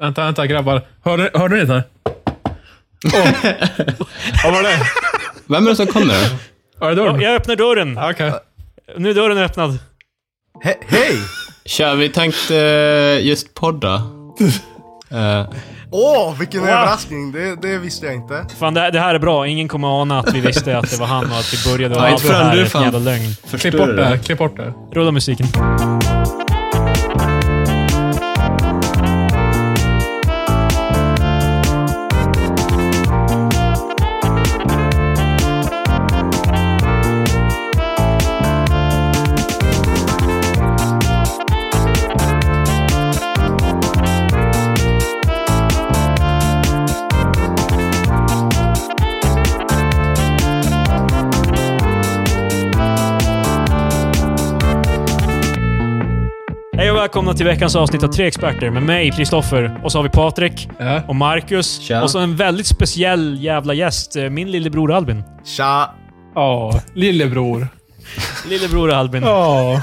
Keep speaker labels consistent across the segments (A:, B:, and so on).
A: Vänta, vänta grabbar. Hörde, hörde ni det?
B: Vad var det?
C: Vem är det som kom nu?
A: Var det dörren?
D: Jag öppnar dörren.
A: Okej.
D: Nu är dörren öppnad.
B: He- Hej!
C: Tja, vi tänkte eh, just podda. Eh,
B: Åh, vilken
D: Wow.
B: överraskning! Det, det visste jag inte.
D: Fan, det, här- det här är bra. Ingen kommer ana att vi visste att det var han och att vi började. Och
C: Nej,
D: allt det
C: fan,
D: här
C: du
D: är ett
C: fan.
D: jävla lögn.
C: förstår
A: Klipp bort
C: du
A: det här. Klipp bort det här.
D: Rulla musiken. Hej och välkomna till veckans avsnitt av Tre Experter med mig, Kristoffer, och så har vi Patrik
A: Ja.
D: och Marcus.
C: Tja.
D: Och så en väldigt speciell jävla gäst, eh, min lillebror Albin.
B: Tja!
A: Ja, lillebror.
D: Lillebror Albin.
A: Ja.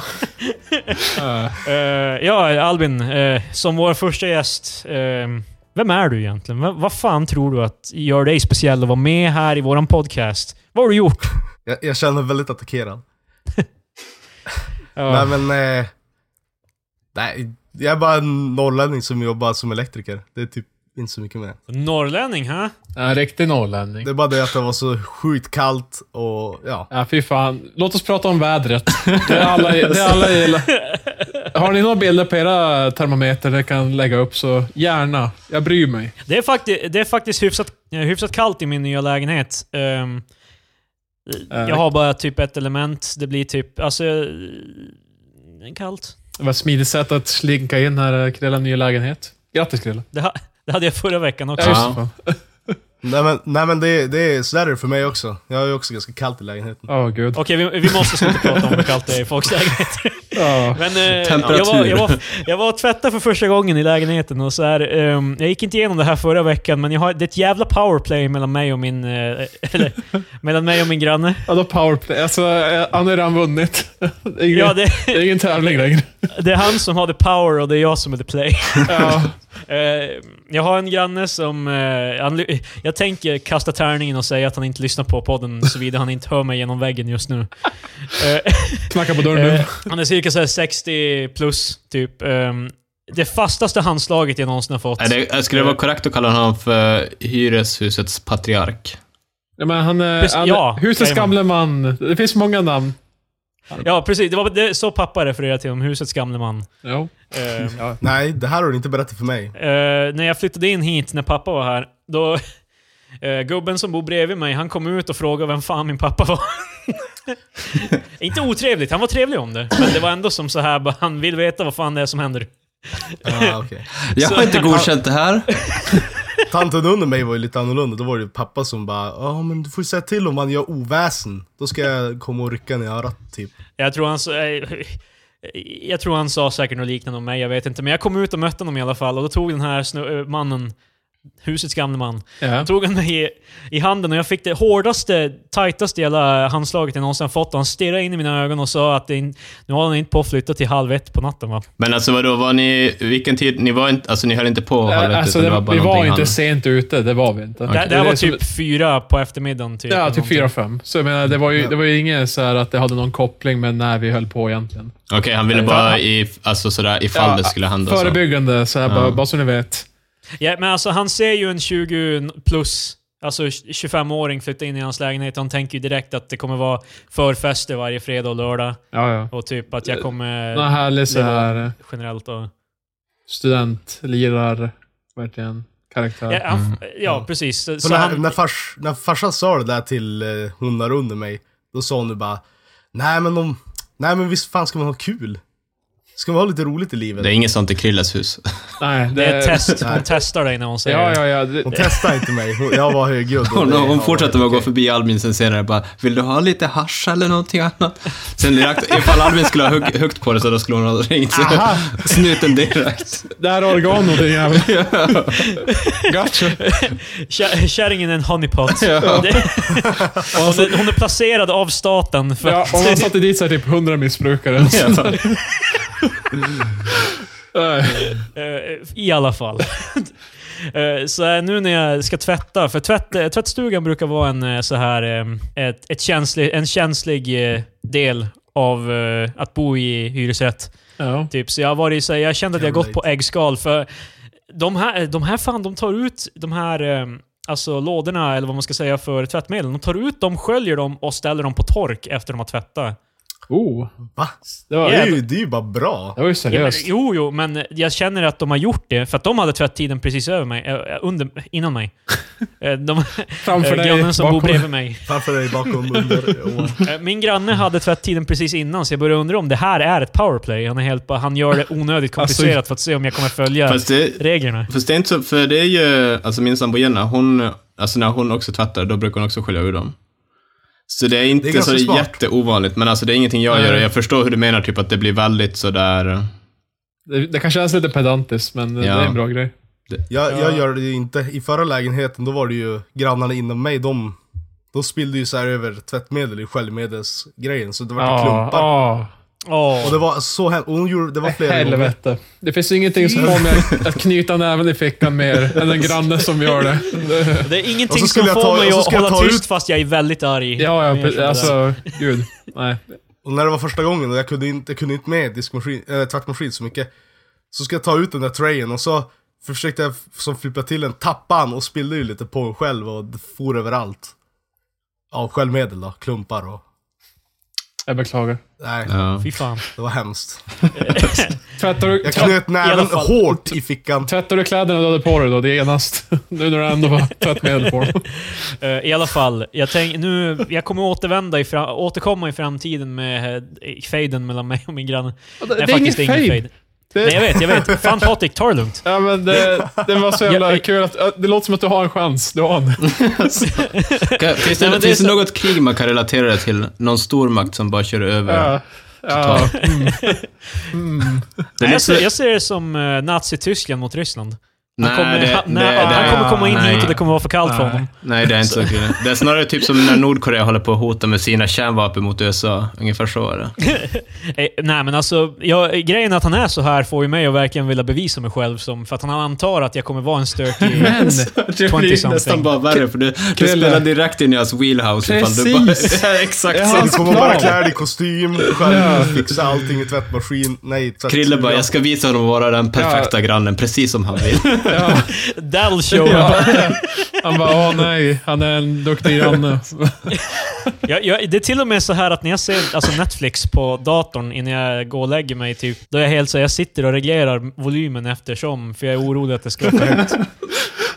D: Eh, ja, Albin, eh, som vår första gäst. ehm, vem är du egentligen? Va- vad fan tror du att gör dig speciell att vara med här i våran podcast? Vad har du gjort?
B: Jag, jag känner mig väldigt attackerad.
D: Ja.
B: Nej men... Eh, nej, jag är bara en norrlänning som jobbar som elektriker. Det är typ inte så mycket med det.
D: Norrlänning, ha?
A: En riktig norrlänning.
B: Det är bara det att det var så sjukt kallt och ja.
A: Ja, fy fan. Låt oss prata om vädret. Det är alla, det är alla gillar. Har ni några bilder på era termometer ni kan lägga upp så gärna. Jag bryr mig.
D: Det är, fakti- det är faktiskt hyfsat, eh, hyfsat kallt i min nya lägenhet. Ehm,
A: Äh,
D: jag har bara typ ett element. Det blir typ... Alltså... eh, Kallt.
A: Det var ett smidigt sätt att slinka in här, Krilla, nya lägenhet. Grattis Krilla.
D: Det, ha- det hade jag förra veckan
A: Ja,
D: också.
A: just
C: Ja.
A: det. fan.
B: Nej men, nej, men det, det är sådär är det för mig också. Jag har ju också ganska kallt i lägenheten.
A: Åh, gud.
D: Okej, vi, vi måste sluta prata om hur kallt det är i folks lägenheter.
A: Ja.
D: Men, eh,
C: Temperatur.
D: Jag var, jag, var, jag var och tvättade för första gången i lägenheten och så här, ehm, Jag gick inte igenom det här förra veckan, men jag har, det är ett jävla powerplay mellan mig och min... eh, eller, mellan mig och min granne.
A: Ja, då powerplay. Alltså, eh, han har redan vunnit. Det är ingen,
D: Ja, det,
A: det är ingen tävling längre.
D: det är han som har the power och det är jag som är the play.
A: Ja.
D: Eh, jag har en granne som... eh, han, ly- jag tänker kasta tärningen och säga att han inte lyssnar på podden såvida han inte hör mig genom väggen just nu. Eh,
A: Knacka på dörren nu.
D: eh, han är cirka så här 60 plus, typ. Eh, det fastaste handslaget jag någonsin har fått.
C: Är det, eh, skulle det vara korrekt att kalla honom för hyreshusets patriark?
A: Ja, men han, eh,
D: Precis,
A: han,
D: ja,
A: husets
D: säger man.
A: gamle man. Det finns många namn.
D: Ja, precis. Det var det, så pappa refererade till om husets gamle man.
A: Jo.
D: Eh,
A: Ehm,
B: Nej, det här har du inte berättat för mig.
D: Eh, när jag flyttade in hit, när pappa var här, då... eh, gubben som bor bredvid mig, han kom ut och frågade vem fan min pappa var. Inte otrevligt, han var trevlig om det. Men det var ändå som så här, bara, han vill veta vad fan det är som händer.
B: Ah, okej.
C: Jag
D: Så-
C: har inte godkänt det här.
B: Tanten under mig var ju lite annorlunda. Då var det ju pappa som bara Ja men du får ju säga till om man gör oväsen. Då ska jag komma och rycka en i örat typ.
D: Jag tror han, sa- eh, jag tror han sa säkert något liknande om mig, jag vet inte. Men jag kom ut och mötte honom i alla fall och då tog den här snö, eh, mannen, husets gamle man,
A: Ja.
D: Han tog han mig i, i handen och jag fick det hårdaste, tajtaste jävla handslaget jag någonsin har fått. Och han stirrade in i mina ögon och sa att det, in- nu har han inte på att flytta till halv ett på natten va?
C: Men alltså vadå, var ni, vilken tid, ni var inte, alltså ni höll inte på halv ett,
A: Alltså,
C: utan
A: det,
C: det var bara
A: vi var
C: någonting
A: inte
C: han-
A: sent ute. Det var vi inte.
D: Det, det här
A: är
D: var
A: som-
D: typ fyra på eftermiddagen. Typ,
A: Ja,
D: eller
A: typ fyra fem. Så jag menar, det var ju, det var ju inget så här att det hade någon koppling med när vi höll på egentligen.
C: Okej, han ville bara i, alltså sådär, ifall det skulle hända så.
A: Förebyggande, så här, bara, bara så ni vet.
D: någonting. Ja, men alltså han ser ju en 20 plus, alltså 25-åring flytta in i hans lägenhet. Han tänker ju direkt att det kommer vara förfester varje fredag och lördag.
A: Ja, ja.
D: Och typ att jag kommer...
A: Någon härlig så
D: det var-
A: här
D: Generellt och...
A: studentlirar verkligen karaktär.
D: Ja, han, ja precis. Så,
B: Så
D: så
B: när,
D: han,
B: när, fars, när farsan sa det där till eh, hon där under mig, då sa hon ju bara Nej men om, nej men visst fan ska man ha kul? Ska man ha lite roligt i livet?
C: Det är inget sånt i Krilles hus.
A: Nej, det,
D: det är ett test.
B: Nej.
D: Hon testar dig när hon säger
A: Ja,
D: det.
A: ja, ja. Det,
B: Hon testade inte mig, Hon- jag var högljudd. och
C: Hon,
B: det-
C: hon
B: ja,
C: fortsatte med att gå
B: okej.
C: förbi Albin sen senare och bara “Vill du ha lite hasch eller någonting annat?” Sen direkt, ifall Albin skulle ha hugg, huggt på det så då skulle hon ha ringt
B: Aha.
C: snuten direkt.
A: det här organet, din jävel. Gotcha.
D: Kä- Kärringen är en honeypot. Det- hon, är, hon är placerad av staten för
A: Ja,
D: att...
A: om man satte dit så här, typ 100 missbrukare.
C: Ja.
A: Nej.
D: eh, I alla fall. Eh, Så eh, nu när jag ska tvätta, för tvätt, eh, tvättstugan brukar vara en eh, så här eh, ett, ett känslig, en känslig eh, del av eh, att bo i hyresrätt.
A: Ja.
D: Typ. Så jag, har varit, så här, jag kände att jag
B: Can
D: gått på äggskal, för de här, eh, de här fan, de tar ut de här eh, alltså, lådorna, eller vad man ska säga, för tvättmedel. De tar ut dem, sköljer dem och ställer dem på tork efter de har tvättat.
A: Oh,
B: Va?
A: det var,
B: Det är,
A: yeah.
B: ju, det är ju bara bra.
A: det var ju
D: Ja, men,
A: seriöst.
D: jo, jo, men jag känner att de har gjort det, för att de hade tvättiden precis över mig, eh, under, innan mig. Eh, de,
A: Framför
D: eh,
A: dig,
D: grannen som bor
A: bakom-
D: bredvid mig.
B: Framför dig bakom under. och-
D: Eh, Min granne hade tvättiden precis innan, så jag började undra om det här är ett powerplay. Han, är helt, bara- han gör det onödigt
B: Alltså,
D: komplicerat för att se om jag kommer följa
C: Fast det,
D: reglerna.
C: Fast det är inte så, för det är ju, alltså min sambo Jenna, hon, alltså när hon också tvättar, då brukar hon också skölja ur dem. Så det är inte
B: ganska
C: så
B: smart.
C: jätteovanligt, men alltså det är ingenting jag
A: Nej.
C: gör. Jag förstår hur du menar, typ att det blir väldigt sådär...
A: Det, det kan kännas lite pedantiskt, men det
C: Ja.
A: är en bra grej.
B: Jag,
D: Ja.
B: jag gör det ju inte. I förra lägenheten, då var det ju grannarna inom mig, de, de spillde ju så här över tvättmedel i sköljmedelsgrejen, så det var
A: Ja,
B: klumpar.
A: ja.
D: Åh.
B: Och det var så hemskt. Och hon gjorde, det var flera gånger.
A: Helvete. Det finns ingenting som får mig att- att knyta näven i fickan mer än en granne som gör det. Det-
D: Det är
B: Och
D: ingenting
B: så
D: som
B: skulle jag
D: får
B: ta-
D: mig
B: och så
D: att
B: skulle jag
D: hålla
B: ta
D: tyst
B: ut-
D: fast jag är väldigt arg.
A: Ja,
D: Mer
A: ja,
D: som det.
A: alltså gud. Nej.
B: Och när det var första gången och jag kunde inte, jag kunde inte med diskmaskin, äh, tvättmaskin så mycket, så ska jag ta ut den där trayen och så försökte jag f- som flippade till den, tappa han och spillde ju lite på en själv och det for överallt. Ja, sköljmedel då, klumpar och...
A: Jag beklagar.
B: Nej,
C: Ja.
D: Fy fan.
B: det var hemskt.
A: Tvättar du,
B: Jag
A: tvätt-
B: knöt näven
D: alla fall.
B: hårt i fickan.
A: tvättar du kläderna du hade på dig då? Det är genast. Nu när du ändå har tvättmedel på dem.
D: Eh, I alla fall, jag, tänk, nu, jag kommer återvända i fra, återkomma i framtiden med eh, faden mellan mig och min granne.
A: Det,
D: Nej,
A: det är ingen
D: faktiskt,
A: fade. Det-
D: Nej, jag vet, jag vet. Fan Patrik, ta det lugnt.
A: Ja, men det, det var så jävla
D: Ja,
A: kul att... att Det låter som att du har en chans. Du har en.
C: Kan- Finns
D: Nej,
C: det,
D: men det är
C: finns det
D: så-
C: något krig man kan relatera det till? Någon stormakt som bara kör över?
A: Ja. Ja. Mm. Mm.
C: Det är
D: Nej,
C: lite
D: jag,
C: så-
D: ser, jag ser det som eh, Nazi-Tyskland mot Ryssland. Han,
C: Nej,
D: kommer,
C: det-
D: han,
C: det-
D: nej,
C: det-
D: han kommer komma in
C: nej.
D: hit och det kommer vara för kallt för
A: Nej.
D: honom.
C: Nej, det är inte så kul. Det är snarare typ som när Nordkorea håller på att hota med sina kärnvapen mot USA. Ungefär så är det.
D: Eh, nej, men alltså, jag, grejen att han är så här får ju mig att verkligen vilja bevisa mig själv. Som, för att han antar att jag kommer vara en stökig...
A: Men,
C: Det blir
D: 20-something.
C: nästan bara värre, för du, du
A: Krille.
C: spelar direkt in i hans wheelhouse. ifall Du bara,
A: Precis.
C: det är exakt
A: Jag
C: så.
A: har
B: Du kommer bara
A: Plan.
B: klä dig i kostym,
A: Ja.
B: själv, fixa allting i tvättmaskin. Nej, tvätt-
C: Krille bara, jag ska visa honom att vara den perfekta grannen, precis som han vill.
A: ja.
D: That'll show up.
A: Ja. Han bara, åh nej, han är en duktig granne.
D: Jag, jag, det är till och med så här att när jag ser alltså Netflix på datorn innan jag går och lägger mig, typ, då är jag helt så jag sitter och reglerar volymen eftersom, för jag är orolig att det ska vara för högt.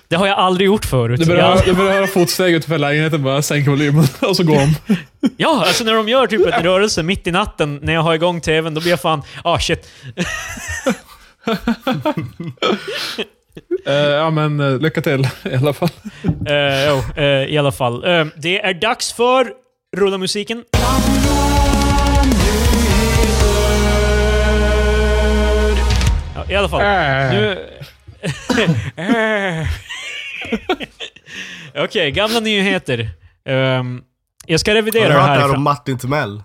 D: Det har jag aldrig gjort förut.
A: Du
D: Jag-
A: börjar, du börjar höra fotsteg utanför lägenheten, bara sänker volymen och så går de.
D: Ja, alltså när de gör typ en rörelse mitt i natten när jag har igång TVn, då blir jag fan... Ah shit.
A: Eh, ja, men eh, lycka till i alla fall.
D: Eh, jo, eh, I alla fall. Eh, det är dags för Rulla musiken. Ja, I alla fall. Nu... Eh. Okej, gamla nyheter. Ehm, jag ska revidera
B: Har du
D: det
B: hört det
D: här.
B: här
D: ifrån-
B: om Martin Timell?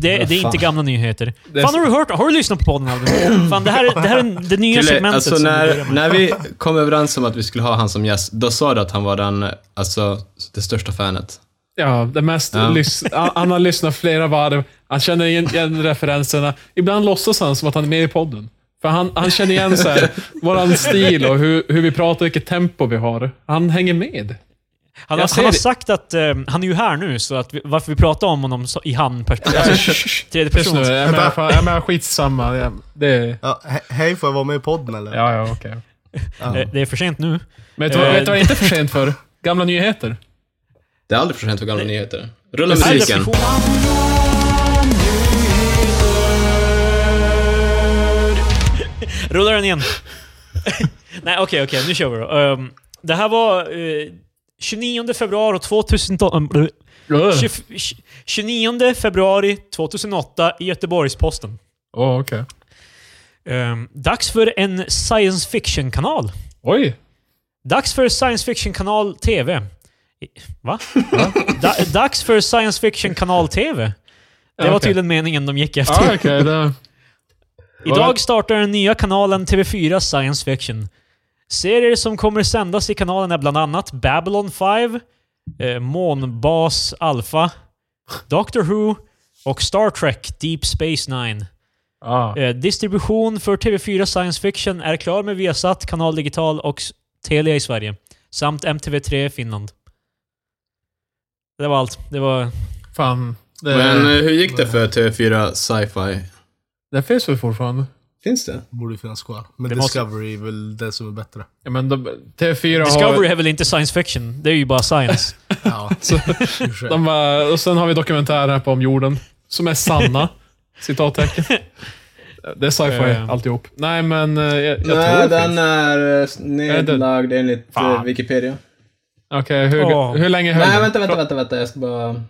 D: Det, det är inte gamla nyheter.
A: Det är
D: Fan,
A: så-
D: har du hört? Har du lyssnat på podden Albin? Fan, det här är det, här är det nya
C: Krille,
D: segmentet.
C: alltså
D: som vi börjar
C: när,
D: med.
C: när vi kom överens om att vi skulle ha han som gäst, då sa du att han var den, alltså, det största fanet.
A: Ja, det mest
C: Ja.
A: lys- han, han har lyssnat flera varv. Han känner igen, igen referenserna. Ibland låtsas han som att han är med i podden. För han, han känner igen så här, våran stil och hur, hur vi pratar, vilket tempo vi har. Han hänger med.
D: Han,
A: Jag
D: har-
A: ser
D: han har
A: det.
D: sagt att eh, han är ju här nu, så att vi, varför vi pratar om honom så, i han-perspektiv. Alltså, tredje
A: Tyst nu.
D: person.
A: Jag menar, fan, jag menar skitsamma. Jag- Det,
B: Ja, he- hej, får jag vara med i podden eller?
A: ja, ja, okej.
D: Eh, Det är för sent nu.
A: Men vet du vad-
D: Eh.
A: vet du vad det inte är för sent för? Gamla nyheter.
C: Det är aldrig för sent för gamla nyheter. Rulla
D: Per
C: musiken.
D: definition. Rullar den igen. Nej, okej, okej. nu kör vi då. Ehm, det här var eh, 29 februari ehm, 2008.
C: Eh.
D: 20, 29 februari 2008 i Göteborgs-Posten.
A: Åh, okej.
D: Ehm, dags för en science fiction-kanal.
A: Oj!
D: Dags för science fiction-kanal TV. I- Va? da, dags för science fiction-kanal TV. Det var
A: Okej.
D: tydligen meningen de gick efter.
A: Ja, Ah, okej. det...
D: Idag startar den nya kanalen TV4 Science Fiction. Serier som kommer sändas i kanalen är bland annat Babylon 5, eh, Månbas Alpha, Doctor Who och Star Trek Deep Space Nine.
A: Ah.
D: Eh, distribution för TV4 Science Fiction är klar med Viasat, Kanal Digital och s- Telia i Sverige. Samt MTV3 i Finland. Det var allt. Det var...
A: Fan. Det,
C: Men eh, hur gick det för TV4 Sci-Fi?
A: det finns väl fortfarande?
C: Finns det?
B: Borde ju finnas kvar. Men
D: Det måste-
B: Discovery är väl det som är bättre.
A: Ja, men de, TV4
D: Discovery
A: har...
D: är väl inte science fiction? Det är ju bara science.
B: Ja,
A: Så,
B: i och för sig.
A: de bara, och sen har vi dokumentärer här på om jorden, som är sanna. citattecken. Det är sci-fi,
D: Eh.
A: alltihop. Nej, men eh, jag, jag tror det
C: Nej, den
A: finns.
C: är eh,
A: den-
C: nedlagd enligt eh,
A: Fan.
C: Wikipedia.
A: Okej, hur,
D: Åh.
A: hur länge höll
C: Nej,
A: den?
C: vänta, vänta, vänta, vänta. Jag ska bara...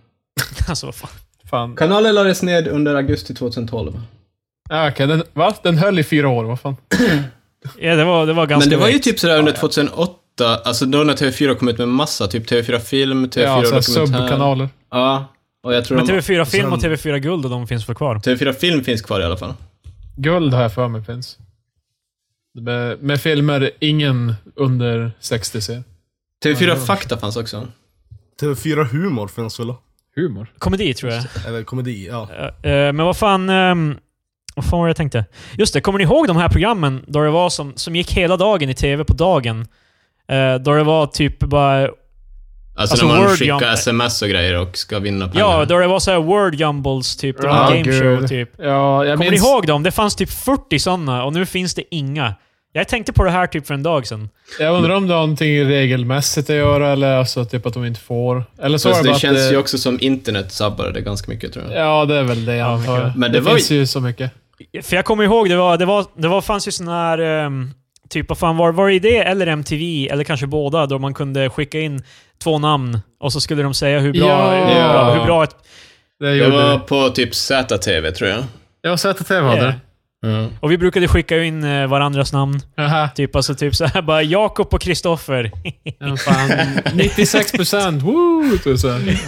D: alltså vad fan.
A: Fan.
C: Kanalen lades ned under augusti 2012.
A: Ja, Ah, Okej, den, va? Den höll i fyra år, vad fan?
D: Ja, det var, det var ganska
C: Men det var ju
D: vagt.
C: typ sådär under 2008, alltså då när TV4 kom ut med massa, typ TV4 Film, TV4
A: Ja, alltså, så här
C: Dokumentär.
A: subkanaler.
C: Ja, och jag tror
D: Men
C: typ- Alltså, de, Typ-
D: TV4 Film och
B: sen-
D: TV4 Guld och de finns väl kvar?
C: TV4 Film finns kvar i alla fall.
A: Guld har jag för mig finns. Med, med filmer ingen under 60 ser.
C: TV4 Fakta fanns också. Alltså
B: TV4 Humor finns väl? då?
A: Humor.
D: Komedi tror jag.
B: Eller komedi, ja.
D: Eh, eh, Men vad fan... ehm, Vad fan var det jag tänkte? Just det, kommer ni ihåg de här programmen då det var som, som gick hela dagen i TV på dagen? Eh, Då det var typ bara
C: Alltså,
D: Alltså,
C: när man
D: Word
C: skickar
D: Jump-
C: sms och grejer och ska vinna pengar.
D: Ja, då det var så här word jumbles typ. Det
A: Ja,
D: var en gameshow
A: gud.
D: typ.
A: Ja, jag
D: Kommer
A: minns...
D: ni ihåg dem? Det fanns typ 40 sådana och nu finns det inga. Jag tänkte på det här typ för en dag sedan.
A: Jag undrar om det har någonting regelmässigt att göra eller alltså typ att de inte får. Eller så
C: Fast
A: var det
C: det
A: bara
C: känns
A: att det,
C: ju också som internet sabbade det ganska mycket tror jag.
A: Ja, det är väl det jag
D: Ja,
A: antar.
D: mycket.
A: jag.
C: Men
A: det
C: det var
A: finns ju så mycket.
D: För jag kommer ihåg, det var, det var, det var, fanns ju sån här... ehm, typ, vad fan var, var det det eller MTV, eller kanske båda, då man kunde skicka in två namn och så skulle de säga hur bra,
A: Ja.
D: hur bra, hur bra ett...
A: Det
C: Det
A: gjorde
C: var
A: det.
C: på typ ZTV tror jag.
A: Jag ZTV hade det.
D: Och vi brukade skicka in eh, varandras namn.
A: Jaha.
D: Typ, alltså, typ så här, bara Jakob och Kristoffer.
A: Ja, fan. 96 procent. Woo! typ så här.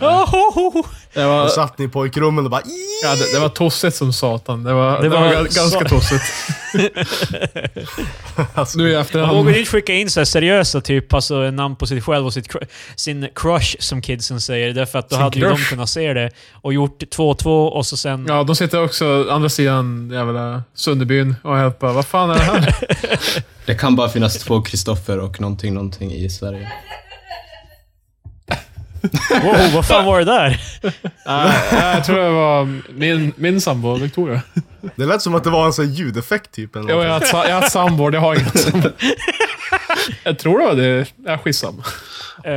D: Ohoho!
A: Det
B: Då
A: var,
B: satt ni i pojkrummen och bara
A: ja, det, det var tossigt som satan. Det var, det
D: Det
A: var,
D: var
A: ga- ganska
D: så-
A: tossigt. nu i
D: Man
A: efterhand.
D: vågar ju inte skicka in så här seriösa typ, alltså namn på sig själv och sitt, cru- sin crush som kidsen säger. Därför att då
A: Sin
D: hade ju de
A: crush.
D: kunnat se det och gjort 2-2 och så sen...
A: Ja, de sitter också andra sidan jävla Sunderbyn och jag bara, vad fan är det här?
C: Det kan bara finnas två Kristoffer och någonting, någonting i Sverige.
D: Wow, vad fan var det där?
A: Nej, jag tror det var min, min sambo, Victoria.
B: Det lät som att det var en sån här ljudeffekt typ. Eller
A: Jo, jag har
B: någonting.
A: haft sa- jag har haft sambo, jag har inget sambo. Jag tror det var det. Jag skitsamma.
D: Eh,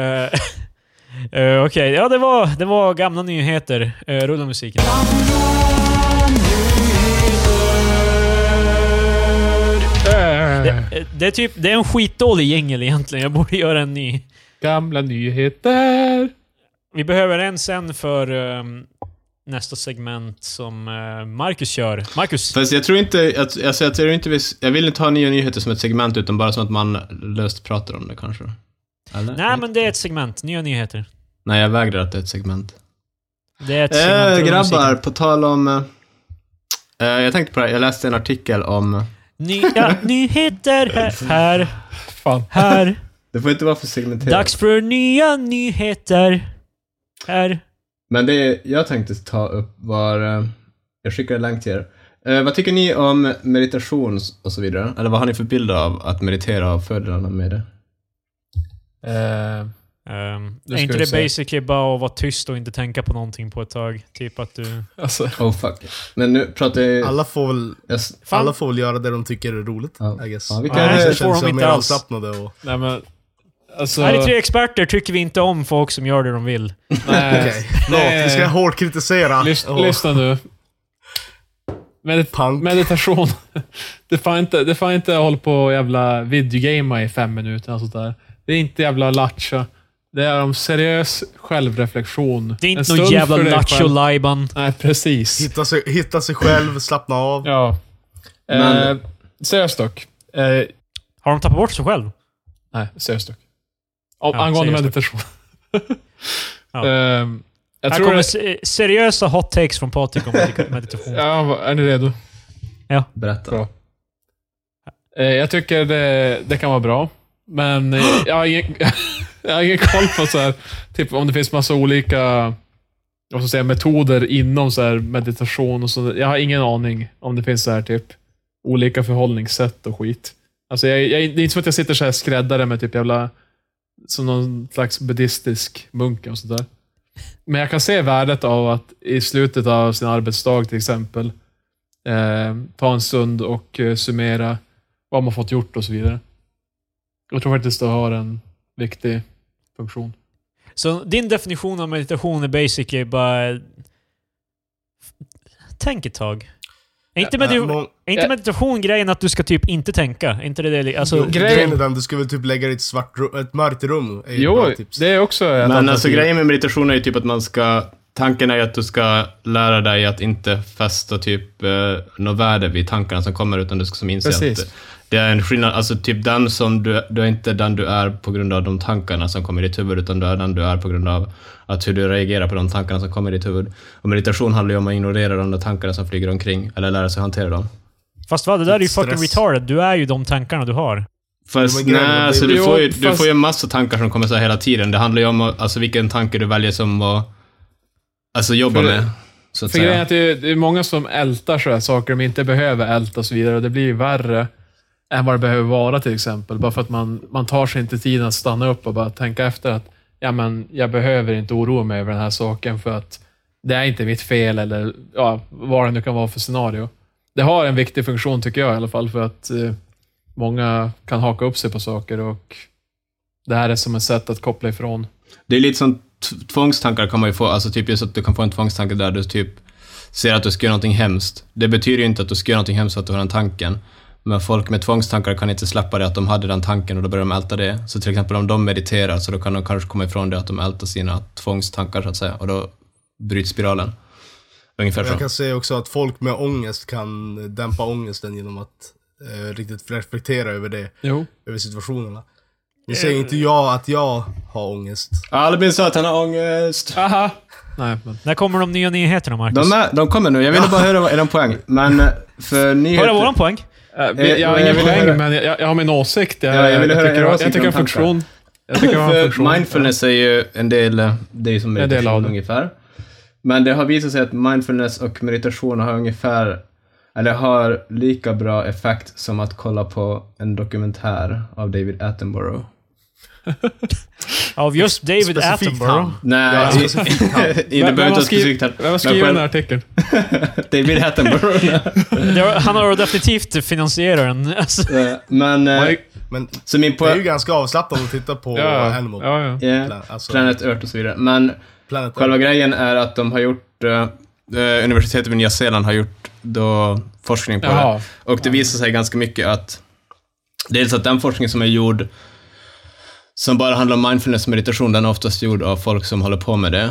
D: eh, Okej, ja det var, det var gamla nyheter. Eh, rulla musiken.
A: Äh,
D: Eh, det, är typ, det är en skitdålig jingel egentligen. Jag borde göra en ny.
A: Gamla nyheter.
D: Vi behöver en sen för ehm, nästa segment som eh, Marcus kör. Marcus,
C: Fast jag tror inte, att- alltså jag, tror inte vi, jag vill inte ha nya nyheter som ett segment, utan bara som att man löst pratar om det kanske. Eller?
D: nej men det är ett segment. Nya nyheter.
C: Nej, jag vägrar att det är ett segment.
D: Det är ett segment.
C: Eh,
D: rulla musiken.
C: grabbar, på tal om... eh, eh, jag tänkte på det, här, jag läste en artikel om... eh,
D: Nya nyheter här, här,
A: Fan.
D: här.
C: Det får inte vara för segmenterat.
D: Dags för nya nyheter. Här.
C: Men det jag tänkte ta upp var... eh, jag skickar en länk till er. Eh, vad tycker ni om meditation och så vidare? Eller vad har ni för bild av att meditera och fördelarna med det?
A: Eh,
D: Ehm,
A: Det
D: är
A: ska
D: inte
A: vi
D: det
A: se.
D: basically bara att vara tyst och inte tänka på någonting på ett tag? Typ att du...
A: alltså,
C: Oh fuck. Men nu pratar jag...
B: Alla får väl
C: jag s-
D: Fan.
B: Alla får väl göra det de tycker är roligt,
C: Ja.
B: I guess.
C: Ja, vilka
B: Sen
C: är det-
B: känns
D: får de
B: jag
D: inte
B: mer
D: alls.
B: avslappnade och...
A: nej men. Alltså,
D: Här är tre experter, tycker vi inte om folk som gör det de vill.
A: nej.
B: Okej, förlåt. Vi ska hårt kritisera.
A: Lys-
B: och-
A: Lyssna nu. Medit-
B: Punk.
A: meditation. Det får inte, det får inte hålla på och jävla videogama i fem minuter. Och sånt där. Det är inte jävla latcha. Det är om seriös självreflektion.
D: Det
A: En
D: är inte
A: stund
D: någon jävla
A: för dig
D: lattjo
A: själv.
D: lajban.
A: Nej, precis.
B: Hitta sig, hitta sig själv, slappna av.
A: Ja.
C: Men-
A: Eh, seriöst dock. Eh,
D: Har de tappat bort sig själv?
A: nej, seriöst dock. Om,
D: Ja,
A: angående
D: seriöst dock.
A: meditation.
D: Ja.
A: Ehm, jag
D: Här
A: tror
D: kommer
A: det,
D: se- seriösa hot takes från Patrik om meditation.
A: ja, är ni redo?
C: Berätta.
A: Bra. Eh, Jag tycker det, det kan vara bra. Men eh, jag har ingen, jag har ingen koll på så här, typ, om det finns massa olika vad ska jag säga, metoder inom så här, meditation. Och så, jag har ingen aning om det finns så här, typ, olika förhållningssätt och skit. Alltså, jag, jag, det är inte som att jag sitter så här skräddare med typ jävla som någon slags buddhistisk munk och sådär. Men jag kan se värdet av att i slutet av sin arbetsdag till exempel eh, ta en stund och eh, summera vad man fått gjort och så vidare. Jag tror faktiskt det har en viktig funktion.
D: Så din definition av meditation är basically bara... Tänk ett tag. Är inte, medi-
B: Eh, må-
D: är inte
A: eh.
D: meditation grejen att du ska typ inte tänka? Är inte det det... li- Alltså,
A: Jo,
B: Grejen är den, du ska väl typ lägga dig i ett, svart rum, ett mörkt rum. Är ju ett
A: Jo,
B: bra tips.
A: det är också ett
C: Men alltså
A: alternativ.
C: grejen med meditation är ju typ att man ska... Tanken är ju att du ska lära dig att inte fästa typ eh, något värde vid tankarna som kommer, utan du ska som inse
A: Precis.
C: att det är en skillnad. Alltså typ den som du, du är inte den du är på grund av de tankarna som kommer i ditt huvud, utan du är den du är på grund av att hur du reagerar på de tankarna som kommer i ditt huvud. Och meditation handlar ju om att ignorera de där tankarna som flyger omkring, eller lära sig hantera dem.
D: Fast vad, det där är ju
B: Stress.
D: fucking retarded. Du är ju de tankarna du har.
C: Fast
B: Men grejen är-
C: nej, alltså, du,
A: Jo,
C: får ju, du
A: fast-
C: får ju en massa tankar som kommer så här hela tiden. Det handlar ju om alltså, vilken tanke du väljer som att alltså, jobba
A: För-
C: med. Så att
A: För grejen är
C: säga.
A: att det är, det är många som ältar så här saker de inte behöver älta och så vidare. Och det blir ju värre än vad det behöver vara till exempel. Bara för att man, man tar sig inte tiden att stanna upp och bara tänka efter att ja, men jag behöver inte oroa mig över den här saken för att det är inte mitt fel eller ja, vad det nu kan vara för scenario. Det har en viktig funktion tycker jag i alla fall för att eh, många kan haka upp sig på saker och det här är som ett sätt att koppla ifrån.
C: Det är lite som t- tvångstankar kan man ju få. Alltså typ just att du kan få en tvångstanke där du typ ser att du ska göra någonting hemskt. Det betyder ju inte att du ska göra någonting hemskt för att du har den tanken. Men folk med tvångstankar kan inte släppa det att de hade den tanken och då börjar de älta det. Så till exempel om de mediterar så då kan de kanske komma ifrån det att de ältar sina tvångstankar så att säga och då bryts spiralen. Ungefär så.
B: Jag kan säga också att folk med ångest kan dämpa ångesten genom att eh, riktigt reflektera över det,
A: Jo.
B: över situationerna. Nu säger inte
D: Eh.
B: jag att jag har ångest.
C: Albin sa att han har ångest.
A: Aha! Nej, men...
D: När kommer de nya nyheterna, Marcus?
C: De, är, de kommer nu. Jag ville bara höra vad är de poäng. Men eh, för
D: Var det
C: nyheter...
D: våran poäng?
A: Eh, vi- Jag har
C: jag
A: ingen
C: vill
A: poäng,
C: höra-
A: men jag, jag har min åsikt. Jag,
C: Ja, jag vill höra
A: tycker,
C: er
A: jag,
C: åsikt
A: tycker jag
C: om
A: har funktion. Jag tycker jag har en funktion.
C: För mindfulness är ju en del, eh, det är ju som
A: En del av
C: meditation
A: det.
C: ungefär. Men det har visat sig att mindfulness och meditation har ungefär, eller har lika bra effekt som att kolla på en dokumentär av David Attenborough.
D: Av just David
B: Specifikt
D: Attenborough?
B: han.
C: Nej,
B: Ja,
A: alltså,
C: i- det
A: Vem-
C: behöver
A: Vem
C: inte
A: har
C: vara specifikt
A: skrivit,
C: här.
A: vem har
C: Men
A: skrivit den
C: själv-
A: här artikeln?
C: David Attenborough.
D: Det var- Han har definitivt finansieraren. Alltså,
C: Eh, Men, eh,
A: Nej,
B: Men
C: så min
B: det är ju
C: poäng...
B: ganska avslappnande att titta på
A: Ja,
B: Animal.
A: ja, ja.
C: Yeah,
B: Alltså-
C: Planet Earth och så vidare. Men
B: Planet
C: Själva grejen är att de har gjort, eh, eh, universitetet vid Nya Zeeland har gjort då forskning på
A: Jaha.
C: det. Och det visar sig ganska mycket att, dels att den forskning som är gjord, som bara handlar om mindfulness och meditation, den är oftast gjord av folk som håller på med det.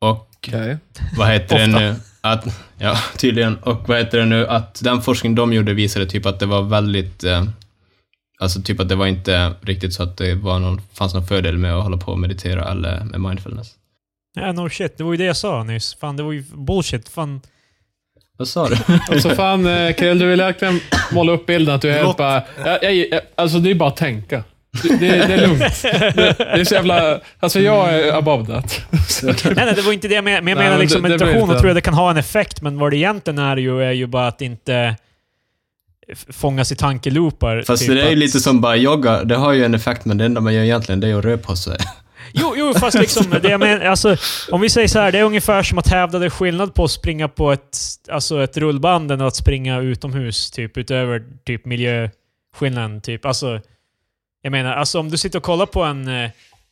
C: Och
A: Okej.
C: vad heter det nu? Att, ja, tydligen. Och vad heter det nu? Att den forskning de gjorde visade typ att det var väldigt, eh, alltså typ att det var inte riktigt så att det var någon, fanns någon fördel med att hålla på och meditera eller med mindfulness.
D: yeah, no shit. Det var ju det jag sa nyss. Fan, det var ju bullshit. Fan.
C: Vad sa du?
A: Alltså fan, eh, Krill, du vill verkligen måla upp bilden att du är helt bara... Jag, jag, jag, alltså, det är bara att tänka. Det, det, det är lugnt. Det, det är så jävla... Alltså, jag är above that.
D: Nej, nej, det var inte det jag menade. Men jag
A: Nej,
D: menar
A: men
D: liksom
A: det- det
D: meditation,
A: blir
D: och
A: inte-
D: tror jag det kan ha en effekt, men vad det egentligen är ju, är ju bara att inte f- fångas i tankeloopar.
C: Fast
D: typ
C: det är ju
D: att-
C: lite som bara yoga, det har ju en effekt men det enda man gör egentligen det är att röra på sig.
D: Jo, jo, fast liksom, det jag menar, alltså, om vi säger så här, det är ungefär som att hävda det är skillnad på att springa på ett, alltså ett rullband än att springa utomhus, typ utöver typ miljöskillnaden. Typ. Alltså, jag menar, alltså om du sitter och kollar på en eh,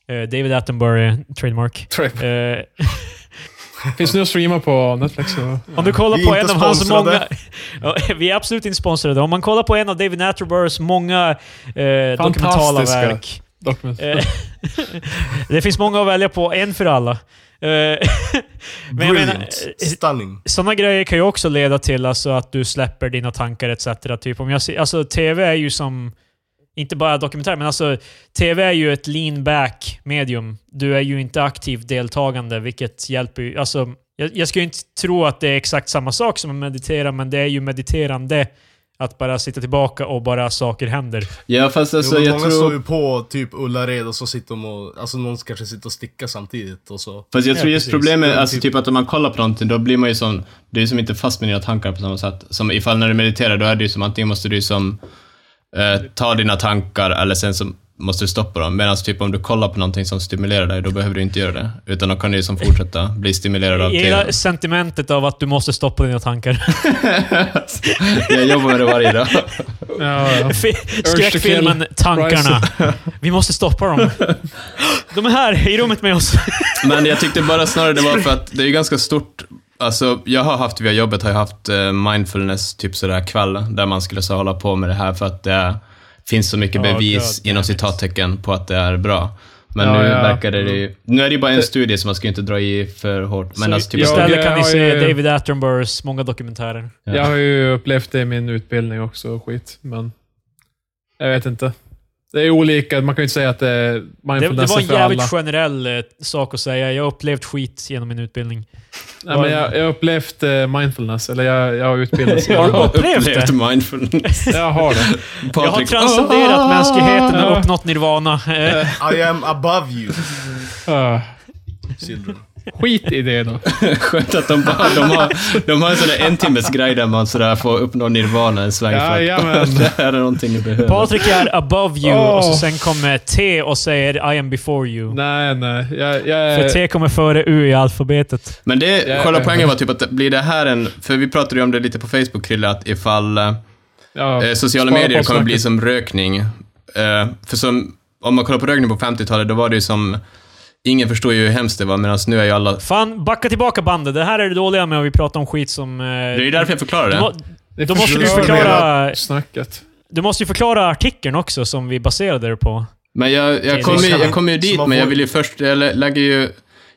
D: eh, David Attenborough, trademark. Eh,
A: Finns nu att streama på Netflix. Och...
D: om du kollar
B: Vi är
D: på en
B: inte
D: av hans
B: sponsrade.
D: många... Ja, vi är absolut inte sponsrade. Om man kollar på en av David Attenboroughs många eh, dokumentala
A: Fantastiska.
D: verk.
A: Dokument.
D: Eh, det finns många att välja på, en för alla. Eh, men jag menar,
B: Brilliant.
D: eh,
B: Stunning.
D: sådana grejer kan ju också leda till alltså, att du släpper dina tankar etc. Typ om jag ser, alltså, TV är ju som, inte bara dokumentär, men alltså TV är ju ett lean back medium. Du är ju inte aktivt deltagande, vilket hjälper ju. Alltså, jag, jag ska ju inte tro att det är exakt samma sak som att meditera, men det är ju mediterande Att bara sitta tillbaka och bara saker händer.
C: Ja, fast alltså
B: jo, men
C: jag
B: många står
C: tror...
B: ju på typ Ullared och så sitter de och, alltså någon kanske sitter och stickar samtidigt och så.
C: Fast jag tror just
D: precis.
C: problemet,
B: Men
C: alltså
B: typ-
C: typ att om man kollar på någonting, då blir man ju som, du är som inte fast med dina tankar på samma sätt. Som ifall när du mediterar, då är det ju som antingen måste du som eh, ta dina tankar eller sen så måste du stoppa dem. Medan typ om du kollar på någonting som stimulerar dig, då behöver du inte göra det. Utan då kan du ju som fortsätta bli stimulerad av
D: Jag
C: tvn.
D: gillar sentimentet av att du måste stoppa dina tankar.
C: Jag jobbar med det varje dag.
A: Ja, ja.
D: Fi- Skräckfilmen Tankarna. Vi måste stoppa dem. De är här i rummet med oss.
C: Men jag tyckte bara snarare det var för att det är ju ganska stort. Alltså, jag har haft via jobbet har jag haft eh, mindfulness, typ sådär kväll, där man skulle så hålla på med det här för att det är, finns så mycket
D: Ja,
C: bevis
D: god
C: inom
D: damn it.
C: citattecken på att det är bra. Men
A: Ja,
C: nu
A: ja.
C: verkar det ju... Nu är det ju bara en studie, så man ska ju inte dra i för hårt. Men
D: Så
C: alltså, typ
A: jag-
C: ja,
D: istället kan ni
A: har
D: se
A: ju-
D: David Attenboroughs många dokumentärer.
A: Jag har ju upplevt det i min utbildning också, och skit. Men jag vet inte. Det är olika. Man kan ju inte säga att det är
D: Det, det
A: mindfulness
D: var
A: är
D: en
A: för alla.
D: jävligt generell eh, sak att säga. Jag har upplevt skit genom min utbildning.
A: Nej, men jag jag har upplevt eh, mindfulness, eller jag, jag har utbildats.
D: Har du upplevt det?
C: mindfulness.
A: Jag har det.
D: Jag har
C: Patrik,
D: transcenderat
C: "Ah!"
D: mänskligheten och
A: Ja.
D: uppnått nirvana. Eh,
B: I am above you,
A: Ah,
B: children.
A: skit i det då.
C: Skönt att de bara... De har, de har en sån där en timmes grej där man sådär får uppnå nirvana en sväng för
A: Jajamän.
C: att det här är någonting du behöver.
D: Patrik är above you
A: Åh.
C: Ah.
D: och så sen kommer T och säger I am before you.
A: Nej, nej. Jag, jag,
D: För
A: är-
D: T kommer före U i alfabetet.
C: Men det,
A: Ja,
C: själva
A: ja.
C: poängen var typ att blir det här en, för vi pratade ju om det lite på Facebook Krille, att ifall eh,
A: ja,
C: eh, sociala
A: spara
C: medier
A: på
C: kommer bli
A: snacket.
C: som rökning. Eh, för som, om man kollar på rökning på 50-talet, då var det ju som, ingen förstod ju hur hemskt det var, medan nu är ju alla,
D: Fan, backa tillbaka bandet. Det här är det dåliga med att vi pratar om skit som... eh,
C: det är ju därför jag förklarar
D: du,
C: det.
D: må,
A: Det
D: då måste du
A: förstör
D: förklara...
A: hela Snacket.
D: Du måste ju förklara artikeln också som vi baserade det på.
C: Men jag,
D: det
C: jag kommer ju,
B: ska
C: jag
B: vi-
C: kommer ju
B: så
C: dit,
B: man
C: men jag
B: får-
C: vill ju först, jag lä- lägger ju,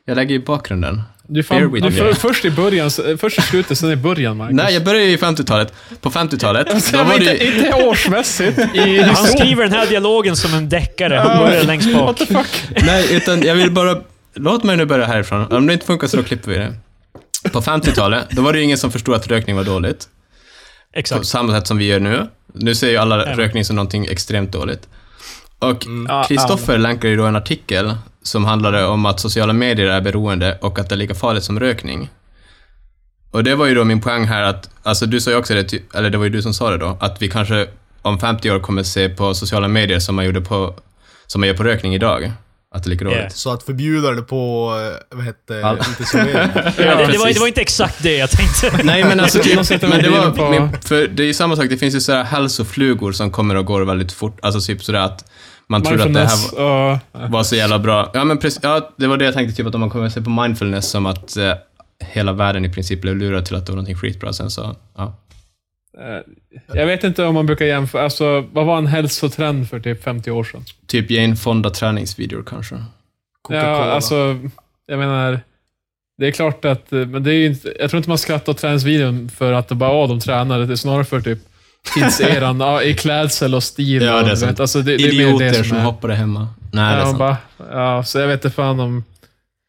C: jag lägger ju bakgrunden.
A: Du
C: Bear
A: fan,
C: with
A: du,
C: me.
A: för, först i början, så- först i slutet, sen i början, Marcus.
C: Nej, jag börjar ju i 50-talet. På 50-talet, då var det
A: inte,
C: ju,
A: inte årsmässigt i
D: Han
A: historien.
D: skriver den här dialogen som en deckare. Han börjar längst bak.
A: What the fuck?
C: Nej, utan jag vill bara... Låt mig nu börja härifrån. Om det inte funkar så då klipper vi det. På 50-talet, då var det ju ingen som förstod att rökning var dåligt. På
D: Exakt.
C: samma sätt som vi gör nu. Nu ser ju alla
D: Även.
C: rökning som någonting extremt dåligt. Och
A: Ja,
C: Kristoffer länkar ju då en artikel som handlade om att sociala medier är beroende och att det är lika farligt som rökning. Och det var ju då min poäng här att, alltså du sa ju också det, ty- eller det var ju du som sa det då, att vi kanske om 50 år kommer se på sociala medier som man gjorde på, som man gör på rökning idag. Att det är lika dåligt.
D: Yeah.
B: Så att förbjuda det på, eh, vad hette
C: All-
B: det, inte servering.
D: Ja, det, det, var,
C: precis.
D: det var inte exakt det jag tänkte.
C: Nej men alltså
A: De
C: typ,
A: sitter
C: men
A: med
C: det var,
A: bilen på-
C: men, för det är ju samma sak, det finns ju sådär hälsoflugor som kommer och går väldigt fort, alltså typ sådär att man tror att det här
A: Mindfulness och...
C: var- var så jävla bra. Ja men precis, ja, det var det jag tänkte, typ att om man kommer att se på mindfulness som att eh, hela världen i princip blev lurad till att det var någonting skitbra sen så, ja.
A: eh, Jag vet inte om man brukar jämföra. Alltså, vad var en hälsotrend för typ 50 år sedan?
C: Typ Jane Fonda träningsvideor kanske.
A: Ja, alltså, jag menar, det är klart att, eh, men det är ju inte, jag tror inte man skrattar åt träningsvideon för att det bara, åh, de tränar. Det är snarare för typ tidseran, ja, i klädsel och stil.
C: Ja,
A: och,
C: det är
A: du
C: sant.
A: vet, alltså, det, det är mer
C: Idioter
A: det
C: som,
A: som är.
C: hoppade hemma. Nej, det är
A: ja,
C: sant.
A: bara, ja, så jag vet inte fan om...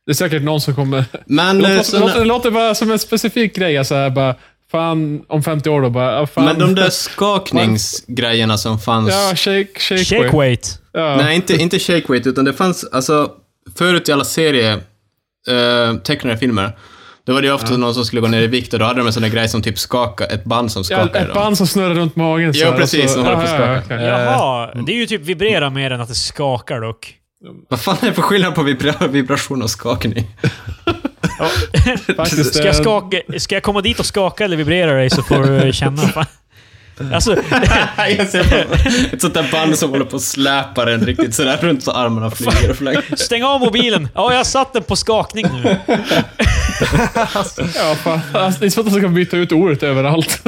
A: Det är säkert någon som kommer...
C: Men,
A: Det
C: eh,
A: låter,
C: såna-
A: låter, det låter bara som en specifik grej. Alltså här, bara, fan, om 50 år då bara, ja, fan.
C: men de där skakningsgrejerna som fanns
A: Ja, shake, shake,
D: Shake
A: weight.
D: weight.
A: Ja.
C: Nej, inte, inte shake weight, utan det fanns, alltså, förut i alla serie, eh, tecknade filmer, då var det ju ofta någon som skulle gå ner i vikt och då hade de en sån där grej som typ skaka, ett band som
A: Ja,
C: skakade
A: ett
C: dem.
A: band som snurrar runt magen. så
C: Ja,
A: här,
C: precis,
A: och så-
C: som håller på att
A: Ja,
C: skaka.
A: ja, okej.
D: Jaha, det är ju typ vibrera mer än att det skakar dock.
C: Vad fan är det för skillnad på vibra- vibration och skakning?
D: Ja.
A: Faktiskt,
D: Ska jag,
A: eh,
D: skaka, ska jag komma dit och skaka eller vibrera dig så får du känna. Fan. Alltså,
C: Jag ser på- ett sånt där band som håller på och släpar en riktigt sådär runt så armarna flyger och flänger.
D: stäng av mobilen. Ja, jag har satt den på skakning nu.
A: Ja, fan. Alltså, det är svårt att man kan byta ut ordet överallt.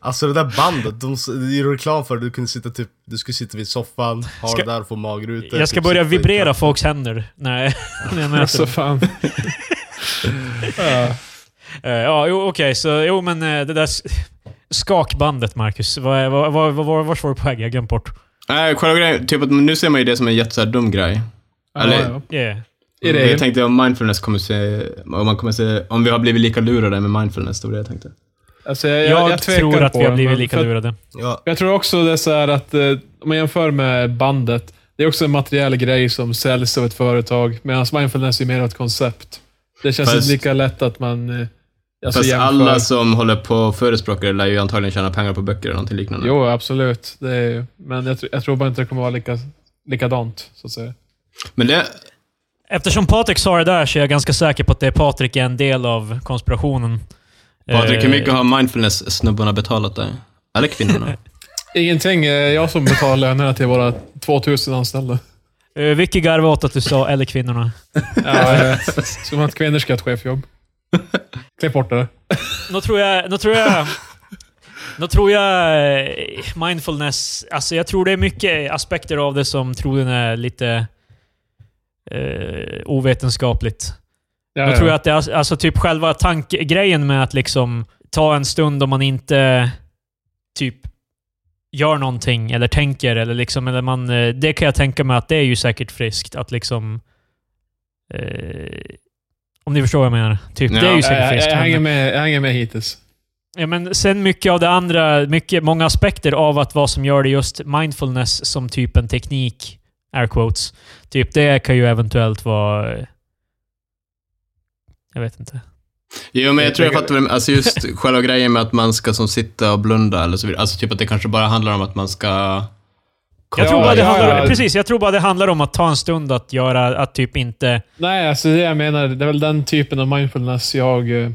B: Alltså det där bandet, de, det är ju reklam för att du kunde sitta typ, du skulle sitta vid soffan, ha
D: Ska-
B: det där, få magrutor.
D: Jag ska
B: typ
D: börja
B: sitta i
D: vibrera folks händer när jag, när jag möter
A: alltså,
D: dem.
A: fan. Ja.
D: Eh, Ja, jo, okej. så, jo, men eh, det där s- skakbandet, Marcus. Vad är- vad- vad- vad- Vart var du på väg? Jag glömde bort.
C: Nej, själva grejen, typ att nu ser man ju det som en jättesåhär dum grej. Eller-
A: Ja,
D: Yeah.
A: ja. I
C: Men Jag
A: regel.
C: tänkte om mindfulness kommer se, om man kommer se, om vi har blivit lika lurade med mindfulness, det var det jag tänkte.
A: Alltså, jag,
D: Jag,
A: jag, jag tvekar
D: tror att
A: på
D: vi har
A: det,
D: blivit
A: men
D: lika
A: för-
D: lurade.
B: Ja.
A: Jag tror också det är så här att eh, om man jämför med bandet, det är också en materiell grej som säljs av ett företag, medan mindfulness är mer ett koncept. Det känns
C: Fast-
A: inte lika lätt att man eh, alltså,
C: Fast
A: jämför.
C: alla som håller på och förespråkar det lär ju antagligen tjäna pengar på böcker eller någonting liknande.
A: Jo, absolut. Det är, ju- men jag, tr- jag tror bara inte det kommer vara lika, likadant, så att säga.
C: Men det,
D: Eftersom Patrik sa det där så är jag ganska säker på att det är Patrik är en del av konspirationen.
C: Patrik, hur
D: Eh,
C: mycket har mindfulness-snubbarna betalat dig? Eller kvinnorna?
A: Ingenting. eh, Jag som betalar lönerna till våra 2000 anställda.
D: eh, Vicky garvade åt att du sa eller kvinnorna.
A: Ja, jag vet. Som att kvinnor ska ha ett chefjobb. Klipp bort det.
D: Då tror jag... Då tror jag... Då tror jag eh, mindfulness, alltså jag tror det är mycket aspekter av det som troligen är lite eh, ovetenskapligt.
A: Ja,
D: Då
A: ja.
D: tror jag att det är alltså typ själva tankegrejen med att liksom ta en stund om man inte typ gör någonting eller tänker eller liksom, eller man, eh, det kan jag tänka mig att det är ju säkert friskt att liksom eh, om ni förstår vad jag menar. Typ, det är ju
C: Ja,
A: jag,
D: säkert
A: jag,
D: friskt.
A: jag,
D: men-
A: hänger med, jag hänger med hittills.
D: Ja, men sen mycket av det andra, mycket, många aspekter av att vad som gör det just mindfulness som typ en teknik, air quotes, typ det kan ju eventuellt vara... eh, Jag vet inte.
C: Jo, men jag tror jag fattar vad du menar. Alltså just själva grejen med att man ska som sitta och blunda eller så vidare. Alltså typ att det kanske bara handlar om att man ska...
D: Jag
A: Ja,
D: tror, bara det
A: ja,
D: handlar,
A: ja.
D: Precis, jag tror bara det handlar om att ta en stund att göra, att typ inte...
A: Nej, alltså det jag menar, det är väl den typen av mindfulness jag... eh,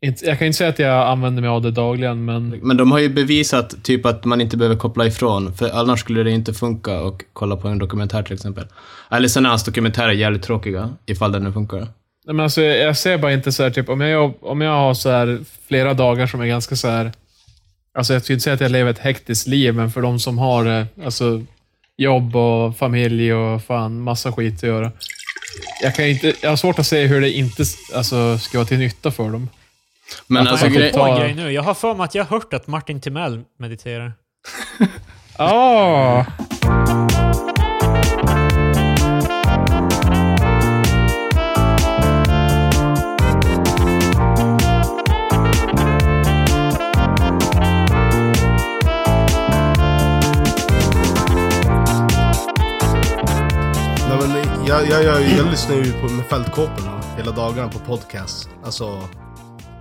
A: Inte, jag kan inte säga att jag använder mig av det dagligen, men...
C: Men de har ju bevisat typ att man inte behöver koppla ifrån, för annars skulle det inte funka och kolla på en dokumentär till exempel. Eller sen är hans dokumentärer jävligt tråkiga, ifall den nu funkar.
A: Nej, men alltså, jag jag ser bara inte så här, typ, om jag, jobb- om jag har så här, flera dagar som är ganska så här... Alltså jag skulle inte säga att jag lever ett hektiskt liv, men för de som har eh, alltså, jobb och familj och fan massa skit att göra. Jag, kan inte, jag har svårt att se hur det inte alltså, ska vara till nytta för dem.
C: Men alltså,
A: man får
C: gre-
A: ta-
D: Ta en grej nu. Jag har för mig att jag har hört att Martin Timell mediterar.
A: Ah!
B: Nej, men jag, jag, jag, jag lyssnar ju på, med fältkåporna hela dagarna på podcast. Alltså,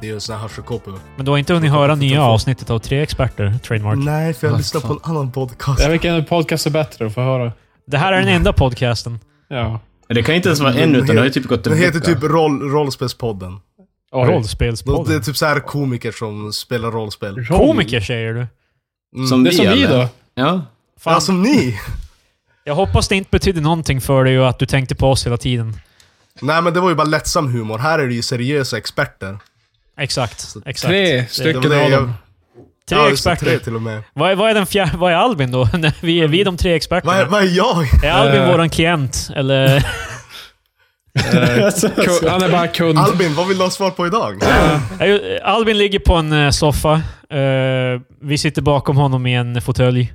B: det är ju en sån här hörselkåpor.
D: Men du har inte hunnit höra nya avsnittet av Tre Experter, Trademark.
B: Nej, för jag
C: Ah,
B: lyssnar på en annan podcast.
A: Jag vet vilken podcast är bättre att få höra.
D: Det här är
B: Mm.
D: den enda podcasten.
A: Ja.
C: det kan inte ens vara en, utan det har ju typ gått en
B: Den heter
C: vecka.
B: typ roll, Rollspelspodden.
A: Oj.
D: Rollspelspodden.
B: Det är typ så här komiker som spelar rollspel.
D: Komiker säger du?
B: Mm.
C: Som
A: Det är som vi
C: eller?
A: då.
C: Ja.
D: Fan,
B: Ja, som ni!
D: Jag hoppas det inte betyder någonting för dig och att du tänkte på oss hela tiden.
B: Nej men det var ju bara lättsam humor. Här är det ju seriösa experter.
D: Exakt. exakt.
A: Tre
B: Det
A: stycken
B: var det
A: av
B: jag-
A: dem.
D: Tre
B: Alltså, ja, just det,
D: experter.
B: Tre till och med.
D: Vad, är, vad är den fjärde? Vad är Albin då? Nej, vi, är, vi är de tre experterna.
B: Vad är, vad är jag?
D: Är Albin
A: Eh.
D: våran klient? Eller?
A: Ku- Han är bara kund.
B: Albin, vad vill du ha svar på idag?
D: Ja, ju- Albin ligger på en eh, soffa. Eh, vi sitter bakom honom i en fåtölj.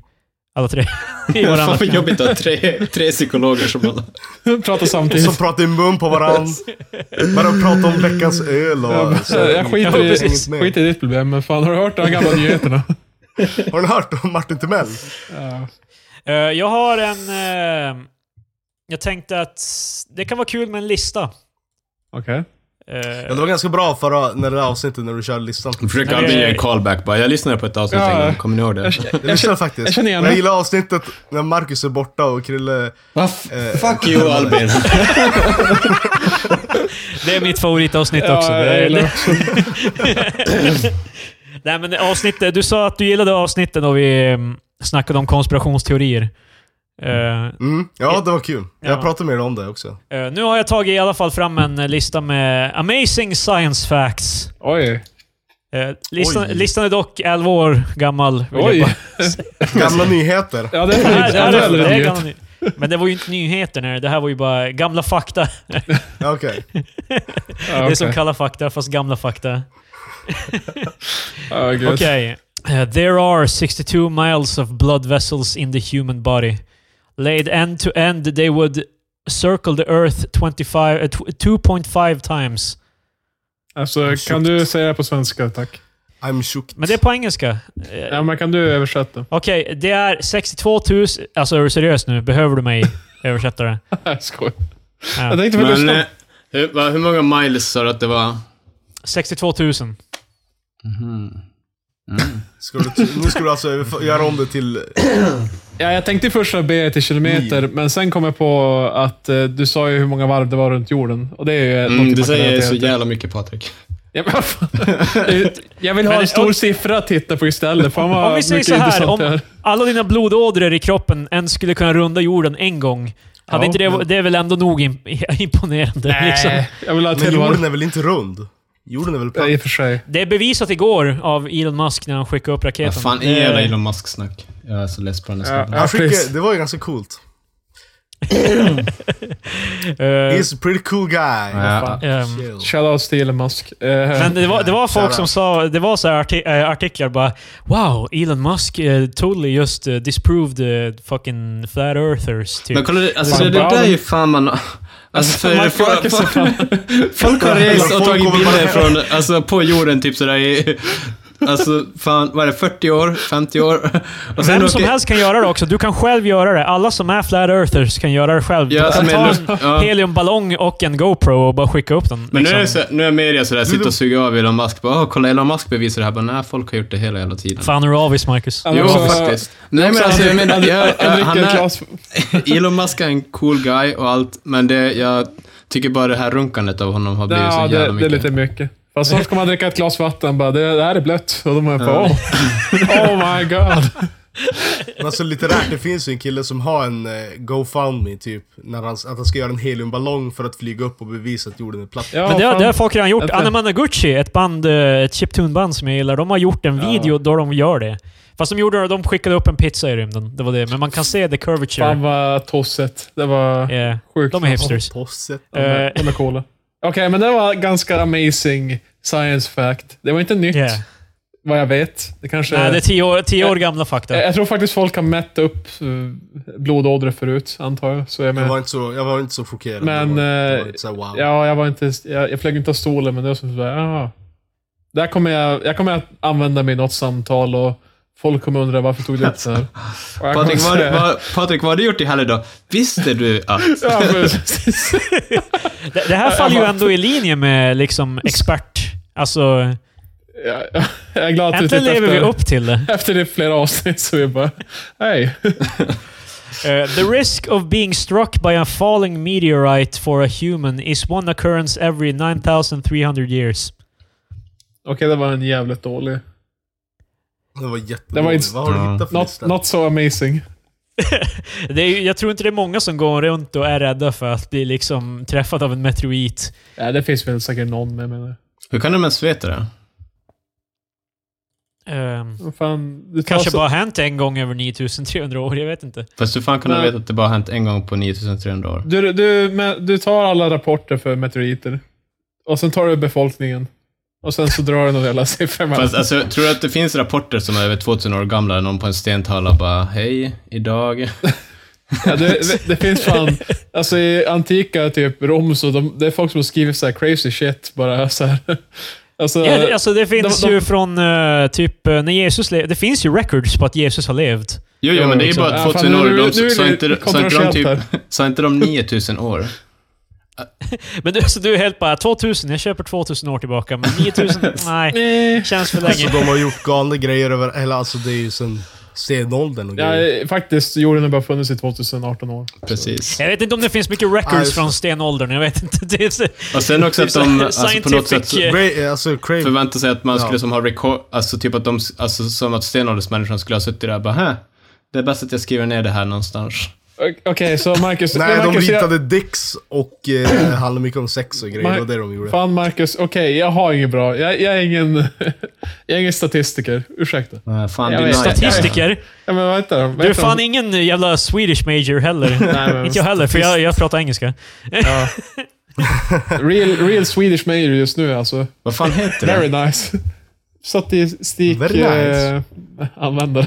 D: Alla tre. I
C: Fan
D: varandra.
C: vad jobbigt att ha tre, tre psykologer som alla...
A: Pratar
B: Som
A: samtidigt.
B: pratar i mun på varandra. Bara pratar om veckans öl och...
A: Jag,
B: Så,
A: jag
D: Ja,
A: skiter, i,
D: precis.
A: skiter i ditt problem, men fan har du hört de här gamla nyheterna?
B: Har ni hört om Martin Timell?
A: Ja.
D: Eh, jag har en... eh, jag tänkte att det kan vara kul med en lista.
A: Okej.
B: Ja,
D: Eh,
B: det var ganska bra förra, när det där avsnittet när du körde listan.
C: Försöker
D: Nej, det-
C: aldrig ge en callback bara. Jag lyssnade på ett avsnitt
A: Ja.
C: en gång, kommer ni ihåg det?
B: Jag lyssnade faktiskt.
A: jag känner igen
B: Men jag
A: det.
B: gillar avsnittet när Marcus är borta och Krille... eh,
C: Fuck you Albin!
D: det är mitt favoritavsnitt
A: Ja, eh,
D: också.
A: jag
D: Det,
A: gillar
D: det, nej, men det avsnittet. Du sa att du gillade avsnitten och vi mm, snackade om konspirationsteorier. Eh,
B: Mm, ja, det var kul.
D: Ja.
B: Jag pratade med dig om det också.
D: Eh, nu har jag tagit i alla fall fram en eh, lista med amazing science facts.
A: Oj.
D: Eh, listan,
B: Oj.
D: listan är dock 11 år gammal. vill jag
A: Oj.
D: bara-
B: Gamla nyheter.
A: Ja, det är
D: Det här-
A: fan
D: det
A: inte
D: här är- det är
A: äldre
D: gamla ny- Men det var ju inte nyheter, när det här var ju bara gamla fakta.
B: Ja, Okej.
D: Det är som kalla fakta, fast gamla fakta.
A: kallar...
D: Okej. Eh, there are 62 miles of blood vessels in the human body. Laid end to end, they would circle the earth 25 eh, tw- 2.5 times.
A: Alltså, kan du säga det på svenska, tack?
B: I'm shook.
D: Men det är på engelska. Eh,
A: Ja, men kan du översätta?
D: Okej, det är 62 000... Alltså är du seriös nu? Behöver du mig översätta det?
A: Jag skojar.
D: Ja.
A: Jag tänkte väl
C: Men eh,
A: lyssna.
C: hur, va, hur många miles sa du att det var?
D: 62 000.
B: Ska du, nu ska du alltså överfö- göra om det till...
A: Ja, jag tänkte först att be till kilometer,
D: Mm.
A: men sen kom jag på att eh, du sa ju hur många varv det var runt jorden. Och det är ju något
C: Mm,
A: man
C: det
A: kan
C: säger
A: relatera
C: så
A: till.
C: jävla mycket Patrik.
A: Ja, men vad fan. Jag vill ha
D: Men-
A: en stor siffra att titta på istället. Fan vad
D: Om vi säger
A: mycket
D: så här,
A: intressant det
D: om
A: är.
D: alla dina blodådror i kroppen ens skulle kunna runda jorden en gång, hade
A: Ja,
D: inte det, det är väl ändå nog imp- imponerande? Liksom.
A: Nej, jag vill ha ett
B: Men
A: till
B: jorden
A: varv.
B: är väl inte rund? Jorden är väl
A: Ja,
B: platt?
A: I och för sig.
D: Det är bevisat igår av Elon Musk när han skickade upp raketen.
C: Vad fan är
D: Det-
C: jävla Elon Musk-snack? Jag är så less på den här
A: Ja,
C: snubben.
A: ja,
B: Han skickade,
A: precis.
B: det var ju ganska coolt.
D: eh,
B: He's a pretty cool guy.
C: Ja.
D: ehm,
B: Chill.
A: Shoutouts till Elon Musk. Eh,
D: Men det var, det var folk
B: Shoutout.
D: som sa, det var så här arti eh, artiklar bara Wow, Elon Musk eh, totally just eh, disproved eh, fucking flat earthers. Typ.
C: Men kolla, alltså
A: Fan,
C: det, det
A: bra.
C: där är ju fan man... Alltså för,
A: Mark
C: för,
A: Marcus är
C: för,
A: fan...
C: folk har rest och
B: Folk
C: tagit
B: kommer
C: bilder
B: bara-
C: från, alltså på jorden typ sådär i... Alltså fan, vad är det, 40 år? 50 år? Och
D: Vem som
C: åker-
D: helst kan göra det också. Du kan själv göra det. Alla som är flat earthers kan göra det själv.
C: Ja,
D: Du kan
C: som
D: ta
C: är
D: en
C: luft- ja.
D: heliumballong och en GoPro och bara skicka upp den.
C: Men nu
D: liksom.
C: är, det så, nu är media sådär, sitter och suger av Elon Musk. Bara, "Åh, kolla Elon Musk bevisar det här. Bara, nej, folk har gjort det hela jävla tiden.
D: Fan, är du avis, Marcus?
A: Ja, men
C: Jo,
A: också-
C: faktiskt. Nej, men
A: också
C: alltså jag
A: Henrik-
C: menar, jag,
A: Henrik- Henrik
C: han
A: och
C: är,
A: Claes-
C: Elon Musk är en cool guy och allt, men det, jag tycker bara det här runkandet av honom har blivit
A: Ja,
C: så
A: det,
C: jävla
A: det är
C: mycket.
A: lite mycket. Fast snart kommer man dricka ett glas vatten bara, det, det här är blött. Och då är jag på, oh. oh my god.
B: Men alltså litterärt, det finns ju en kille som har en eh, GoFundMe typ. När han, att han ska göra en heliumballong för att flyga upp och bevisa att jorden är platt.
A: Ja,
D: Men det, har-
A: fan.
D: det har folk redan gjort.
A: Vänta.
D: Anamanaguchi, ett band, eh, ett chiptune-band som jag gillar, de har gjort en
A: Ja.
D: video då de gör det. Fast de gjorde det, de skickade upp en pizza i rymden. Det var det. Men man kan se the curvature.
A: Fan vad tosset. Det var
D: Eh,
A: sjukt.
D: de är hipsters. Eh.
B: Posset.
A: De är, de är coola. Okej, men det var ganska amazing science fact. Det var inte nytt,
D: Yeah.
A: vad jag vet. Det kanske...
D: Nej, det är tio år, tio år
A: Eh,
D: gamla fakta.
A: jag, jag tror faktiskt folk har mätt upp eh, blodådror förut, antar jag. Så jag
B: Jag
A: menar,
B: var inte så, jag var inte så chockerad.
A: Men,
B: jag var, jag
A: eh,
B: var inte så här, wow.
A: ja, jag, var inte, jag, jag flög inte av stolen, men det var som sådär, ah. Där kommer jag, jag kommer att använda mig i något samtal och folk kommer undra varför tog du upp det här? Och jag
C: Patrik,
A: kommer
C: vad,
A: säga-
C: vad, Patrik, vad har du gjort i helgen då? Visste du att...
A: Ja, precis.
D: det, det
A: eh,
D: här faller ju ändå i linje med liksom expert... Alltså,
A: Ja, ja. jag är glad att du
D: äntligen
A: tittade
D: lever
A: efter,
D: vi upp till det.
A: efter det flera avsnitt, så vi bara, hej.
D: Eh, the risk of being struck by a falling meteorite for a human is one occurrence every 9300 years.
A: Okej, det var en jävligt dålig.
B: Det var
A: Det var
B: jättedåligt.
A: inte-
B: Vad har du hittat för
A: Not,
B: lista?
A: not so amazing.
D: Det är, ju- jag tror inte det är många som går runt och är rädda för att bli liksom träffad av en meteorit.
A: Ja, det finns väl säkert någon, men jag menar.
C: Hur kan de ens veta det?
D: Ehm,
A: Vad Fan, det tar
D: kanske
A: så-
D: bara hänt en gång över 9300 år, jag vet inte.
A: Eh,
C: Fast hur fan kan de
A: Nej.
C: veta att det bara har hänt en gång på 9300 år?
A: Du, du, men, du tar alla rapporter för meteoriter. Och sen tar du befolkningen. Och sen så drar du några jävla siffror. med.
C: Fast alltså, tror du att det finns rapporter som är över 2000 år gamla, någon på en stentavla bara “Hej, idag”?
A: Ja, det, det finns fan... Alltså i antika typ Rom så de, det är folk som har skrivit så här crazy shit bara så här. Alltså,
D: Ja, det, alltså det finns
A: de- de-
D: ju från eh, typ eh, när Jesus le- Det finns ju records på att Jesus har levt.
C: Jo, jo, men det är ju
A: Ja,
C: bara
A: fan,
C: 2000 år.
A: nu-
C: De,
A: nu är
C: sa,
A: det
C: inte, sa, inte de
A: kontroversiellt
C: typ,
A: här.
C: sa inte de 9000 år?
D: Men du, så du är helt bara 2000, jag köper 2000 år tillbaka. Men 9000, nej.
A: Eh,
D: Känns för
B: Alltså
D: länge.
B: de har gjort galna grejer över, eller alltså det är ju sen stenåldern och grejer.
A: ja, faktiskt, jorden har bara funnits i 2018 år.
C: Precis.
D: Jag vet inte om det finns mycket
B: Nej,
D: records
B: så-
D: från stenåldern. Jag vet inte. Det är så,
C: Och sen också att de alltså, på något sätt
D: Scientific-
B: Bra, eh, alltså Crave,
C: förväntar sig att man skulle
B: Ja.
C: som ha rekord... Alltså typ att de... Alltså som att stenåldersmänniskan skulle ha suttit där och bara “Hä? Det är bäst att jag skriver ner det här någonstans”.
A: Okej, så Marcus...
B: nej de
A: Marcus, jag-
B: ritade dicks och eh, handlade mycket om sex och grejer,
A: Mar-
B: det var det de gjorde.
A: Fan Marcus, okej, jag har inget bra. Jag, jag, är ingen, jag är ingen statistiker. Ursäkta.
C: Nej, Äh, Fan,
A: Jag
C: din
A: vet.
C: naj-
D: statistiker.
A: Ja, men vad heter de? Vad
D: Du är
A: heter de?
D: fan ingen jävla Swedish major heller.
A: Nej, men-
D: inte jag heller, för jag, jag pratar engelska.
A: Ja. Real, real Swedish major just nu alltså.
C: Vad fan heter det?
A: Very nice. Statistik...
B: Very nice.
A: eh, användare.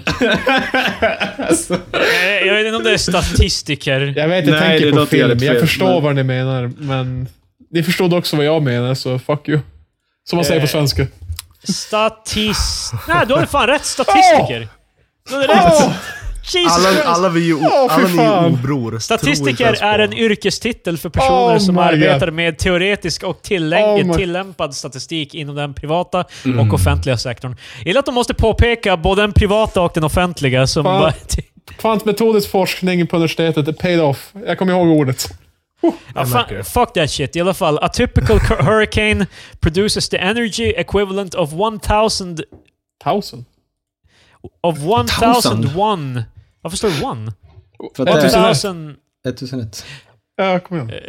D: Eh, Jag vet inte om det är statistiker.
A: Jag vet, jag
C: Nej, det
A: tänker på
C: låter
A: film.
C: jävligt
A: Jag
C: fel,
A: förstår
C: men-
A: vad ni menar, men... Ni förstod också vad jag menar, så fuck you. Som man säger på
D: Eh.
A: svenska.
D: Statist... Nej, du har ju fan rätt. Statistiker. Du hade rätt. Jesus
B: Alla,
D: Christ.
B: alla vi ju,
A: Åh, fy
B: alla ni är
A: fan.
B: ju obror. Tror
D: Statistiker
B: inte ens
D: är en
B: på
D: yrkestitel för personer
A: Oh
D: som
A: my
D: arbetar med teoretisk och tillägg-
A: Oh my- Mm.
D: tillämpad statistik inom den privata och offentliga sektorn. Jag gillar att de måste påpeka både den privata och den offentliga. Som
A: Fan.
D: bara,
A: Kvantmetodisk forskning på universitetet, it paid off. Jag kommer ihåg ordet.
D: ja, fan, fuck that shit. I alla fall, a typical cur- hurricane produces the energy equivalent of 1000
A: Tusen.
D: of
C: 1000?
D: 1001. Varför står det one?
C: För att det är
D: 1000...
C: 1001.
A: Ja, kom igen.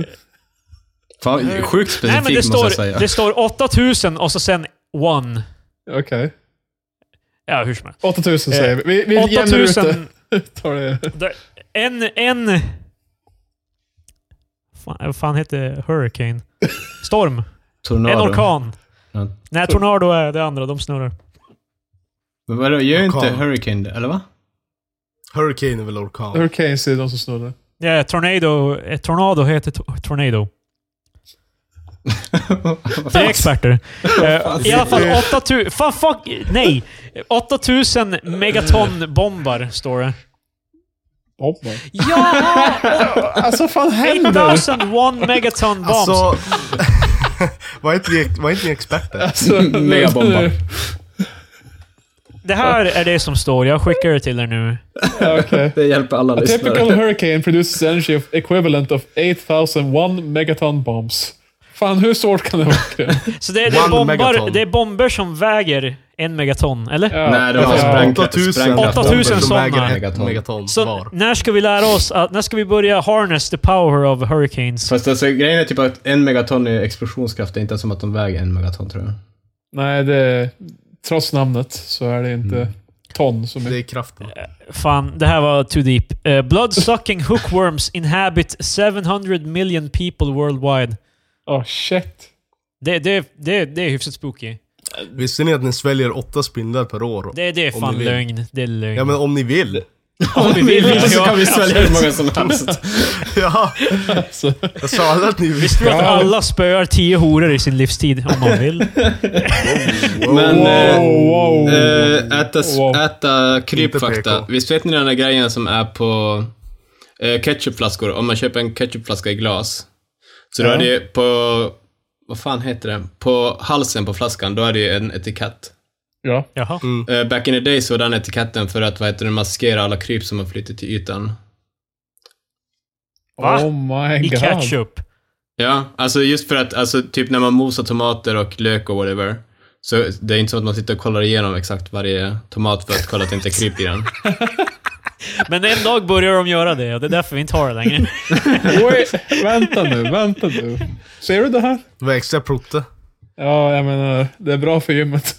C: Fan, sjukt
D: Nej, men det
C: specifikt måste jag
D: står,
C: säga.
D: det står 8000 och så sen one.
C: Eh.
A: Okej.
D: Ja, hur som helst.
A: 8000
D: Eh,
A: säger vi. Vi, vi jämnar ut
D: 8000...
A: det. Tar det.
D: Där- En, en... Fan, vad fan heter Hurricane? Storm. En
C: Tornado.
D: orkan.
C: Ja.
D: Nej, Tornado är det andra. De snurrar.
C: Men vadå, gör inte
B: Orkan.
C: Hurricane det, eller va?
B: Hurricane är väl orkan?
A: Hurricanes är de som snurrar.
D: Ja, tornado, eh, tornado heter to- Tornado. Det är experter. Eh, I alla fall 8000... Fan, fuck! Nej! 8000
B: Mm.
D: megatonbombar, står det.
A: Bomber.
D: Ja!
A: Alltså vad fan händer?
D: 8001 megaton bombs.
B: Alltså... var, inte ni, var inte ni experter?
A: Alltså,
C: Megabombar.
D: det här är det som står. Jag skickar det till er nu.
A: Ja, typ Okej.
C: Det hjälper alla
A: A typical
C: lyssnare.
A: hurricane produces energy of equivalent of 8001 megaton bombs. Fan, hur svårt kan det vara?
D: Så det, det, är
B: One
D: bombar,
B: megaton.
D: det är bomber som väger en megaton, eller?
A: Ja.
C: Nej, det var
A: Ja.
C: sprängt.
B: 8000
C: Sprängkraft.
D: 8000
B: som
D: sådana.
B: väger ett
C: Megaton.
B: megaton
D: Så
B: var.
D: när ska vi lära oss att, när ska vi börja harness the power of hurricanes?
C: Fast alltså, grejen är typ att en megaton är explosionskraft. Det är inte som att de väger en megaton, tror jag.
A: Nej, det, trots namnet så är det inte
D: Mm.
A: ton som
B: Det
A: är...
B: är kraften.
D: Eh. Fan, det här var too deep. Eh, blood-sucking hookworms inhabit 700 million people worldwide.
A: Åh, shit.
D: Det, det, det, det är hyfsat spooky.
B: Visste ni att ni sväljer åtta spindlar per år?
D: Det, det är
B: Om
D: fan
B: ni vill.
D: lögn. Det är lögn.
B: Ja men om ni vill.
D: Om vi vill, ja.
C: så kan vi svälja hur många som helst.
B: Ja,
A: Alltså,
B: jag sa aldrig att ni
D: Visste du
B: visste.
D: att
A: Ja.
D: alla spöar tio horor i sin livstid? Om man vill.
C: Men... eh,
A: wow, wow.
C: Eh, äta, s-
A: Wow.
C: äta
B: Inte
C: krypfakta.
B: PK.
C: Visst vet ni den där grejen som är på eh, ketchupflaskor? Om man köper en ketchupflaska i glas. Så då är det ju på... Vad fan heter det? På halsen på flaskan, då är det ju en etikett.
A: ja.
D: Jaha.
C: Eh, back in the day så var den etiketten för att vad heter det, maskera alla kryp som har flyttit till ytan.
D: Va?
A: Oh my
D: I
A: god.
D: ketchup.
C: Ja, alltså just för att, alltså typ när man mosar tomater och lök och whatever. Så det är inte som att man sitter och kollar igenom exakt varje tomat för att kolla att det inte är kryp i den.
D: Men en dag börjar de göra det och det är därför vi inte har det längre.
A: Wait, vänta nu, vänta nu. Ser du det här?
B: Det var extra prote.
A: Ja, jag menar, det är bra för gymmet.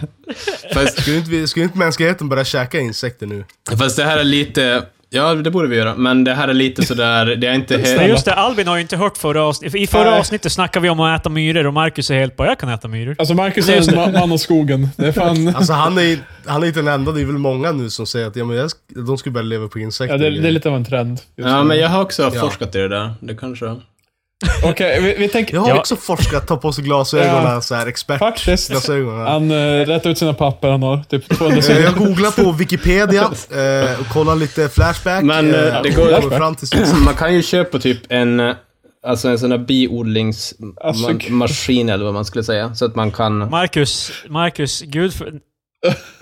C: Fast
B: Skulle inte, vi- skulle inte mänskligheten börja käka insekter nu?
C: Fast det här är lite... Ja, det borde vi göra. Men det här är lite sådär... Det är inte
D: Nej,
C: helt...
D: just det. Albin har ju inte hört förra avsnittet. I förra
A: Nej.
D: avsnittet snackade vi om att äta myror och Marcus är helt bara “Jag kan äta myror”.
A: Alltså, Marcus är en ma- man av skogen. Det är fan...
B: Alltså han är, han är inte den enda, det är väl många nu som säger att ja, men jag, sk- de skulle börja leva på insekter.
A: Ja, det, det är lite av en trend. just
C: Ja,
A: nu.
C: men jag har också
B: Ja.
C: forskat i det där. Det kanske...
A: Okej, vi, vi tänker...
B: Jag har
D: Ja.
B: också forskat, ta på sig glasögonen,
A: Ja.
B: så här expert.
A: Faktiskt.
B: Glasögonen.
A: Han uh, rättar ut sina papper han har. Typ 200
B: Eh,
A: sidor.
B: Jag googlar på Wikipedia eh, och kollar lite Flashback.
C: Men, eh, det
B: och
C: går-
B: kommer fram till slutsatsen.
C: Alltså, Man kan ju köpa typ en... eh, Alltså en sån där biodlingsmaskin,
A: Alltså, gud.
C: eller vad man skulle säga. Så att man kan...
D: Marcus, Marcus, gud för...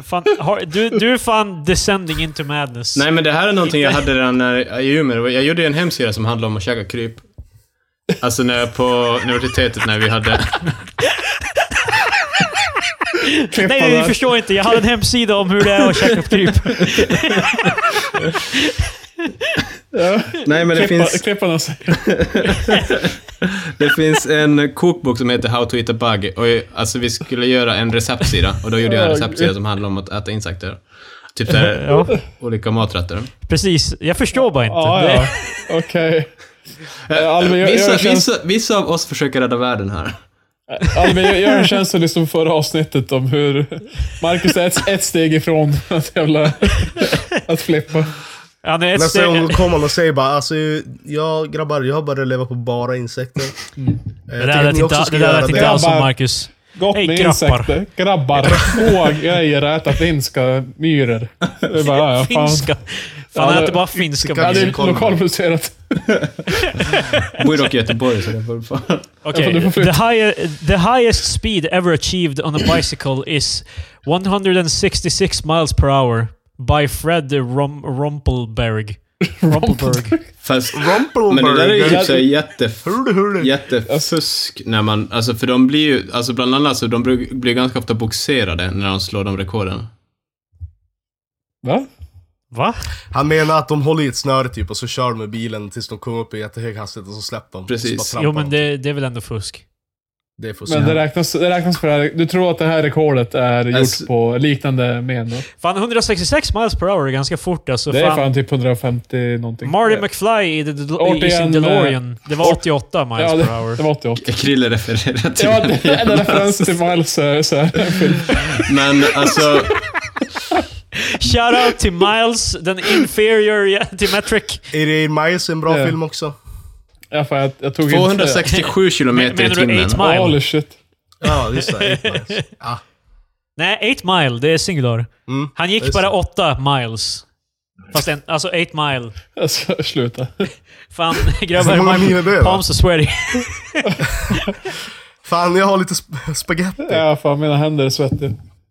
D: Fan, har, du, du är fan descending into madness.
C: Nej, men det här är någonting jag hade redan när, i Umeå. Jag gjorde ju en hemsida som handlade om att käka kryp. Alltså när jag på universitetet när vi hade...
D: Nej, nej, vi förstår inte. Jag hade en hemsida om hur det är att käka kryp.
C: Nej, men det
A: Klippa,
C: finns,
A: Klipparna säger...
C: det finns en kokbok som heter How to eat a bug. Och, eh, alltså vi skulle göra en receptsida. Och då gjorde jag en receptsida som handlade om att äta insekter. Typ såhär,
D: Ja,
C: olika maträtter.
D: precis. Jag förstår bara inte.
A: Ja,
D: Det-
A: Ah, ja. Okej. Eh, Albin, jag-
C: vissa,
A: jag känner-
C: vissa, vissa av oss försöker rädda världen här.
A: Albin, jag gör en tjänst och lyssnar på förra avsnittet om hur Marcus är ett, ett steg ifrån att jävla... Att flippa.
D: Han är ett
B: Nästa
D: steg...
B: gång kommer man och säger bara alltså, ja grabbar, jag har börjat leva på bara insekter. Eh, jag
D: Mm. Det
B: tycker
D: där
B: att
D: lät
B: ni också
D: inte,
B: ska
D: det där
B: göra
D: lät inte
B: det.
D: alls som
A: Grabbar.
D: Marcus.
A: Gott
D: Hej,
A: med
D: grappar.
A: insekter. Grabbar. Två grejer att äta finska myror. Det är bara, ja, ja, fan.
D: Finska. Fan,
A: Ja,
D: jag
A: det-
D: äter bara finska
A: Ja, det
D: myror.
A: är lokalproducerat.
C: Jag bor ju dock i Göteborg, så det får fan...
A: Ja,
D: Okay.
A: du får flytta.
D: The, high, the highest speed ever achieved on a bicycle is 166 miles per hour by Fred Rom Rumpelberg. Rumpelberg.
C: Fast... Men det där är ju
B: Rumpelburger.
C: typ såhär jätte...
B: Hurru, hurru.
C: Jättefusk när man... Alltså för de blir ju... Alltså bland annat så de bru- blir ganska ofta boxerade när de slår de rekorden.
A: Va?
D: Va?
B: Han menar att de håller i ett snöre typ och så kör de med bilen tills de kommer upp i jättehög hastighet och så släpper de.
C: Precis.
B: Så bara trampar
D: Jo, men
B: de.
D: det, det är väl ändå fusk?
B: Det får
A: Men det
B: se.
A: räknas, det räknas för det här. Du tror att det här rekordet är gjort
C: Alltså-
A: på liknande men? då?
D: Fan, 166 miles per hour är ganska fort alltså.
A: Det är
D: Fan.
A: fan typ 150 någonting.
D: Marty
A: Ja.
D: McFly i, the, i, i
A: Återigen,
D: sin
A: eh,
D: DeLorean. Det var
A: åt-
D: 88 miles
A: Ja, det,
D: per hour.
A: det var 88.
C: Krille refererar till
A: Ja, det är en referens till Miles. eh, Så här.
C: Men alltså...
D: Shout out till Miles, den inferior ja, till Metric.
B: Är det Miles en bra
A: Ja.
B: film också?
A: Ja, fan, jag, jag tog inte...
C: 267 kilometer i
D: Menar du
C: timmen.
D: 8 mile?
A: Holy shit.
B: Ja, just det. Eight Miles. Ja.
D: Nej, 8 mile, det är singular.
B: Mm.
D: Han
B: just
D: gick bara 8 miles. Fast en, alltså 8 mile.
A: Alltså, sluta.
D: Fan,
B: Alltså, Hur
D: grabbar.
B: många mil är det,
D: my
B: va?
D: Palms are sweaty.
B: Fan, jag har lite sp- spaghetti.
A: Ja, fan, mina händer är svettiga.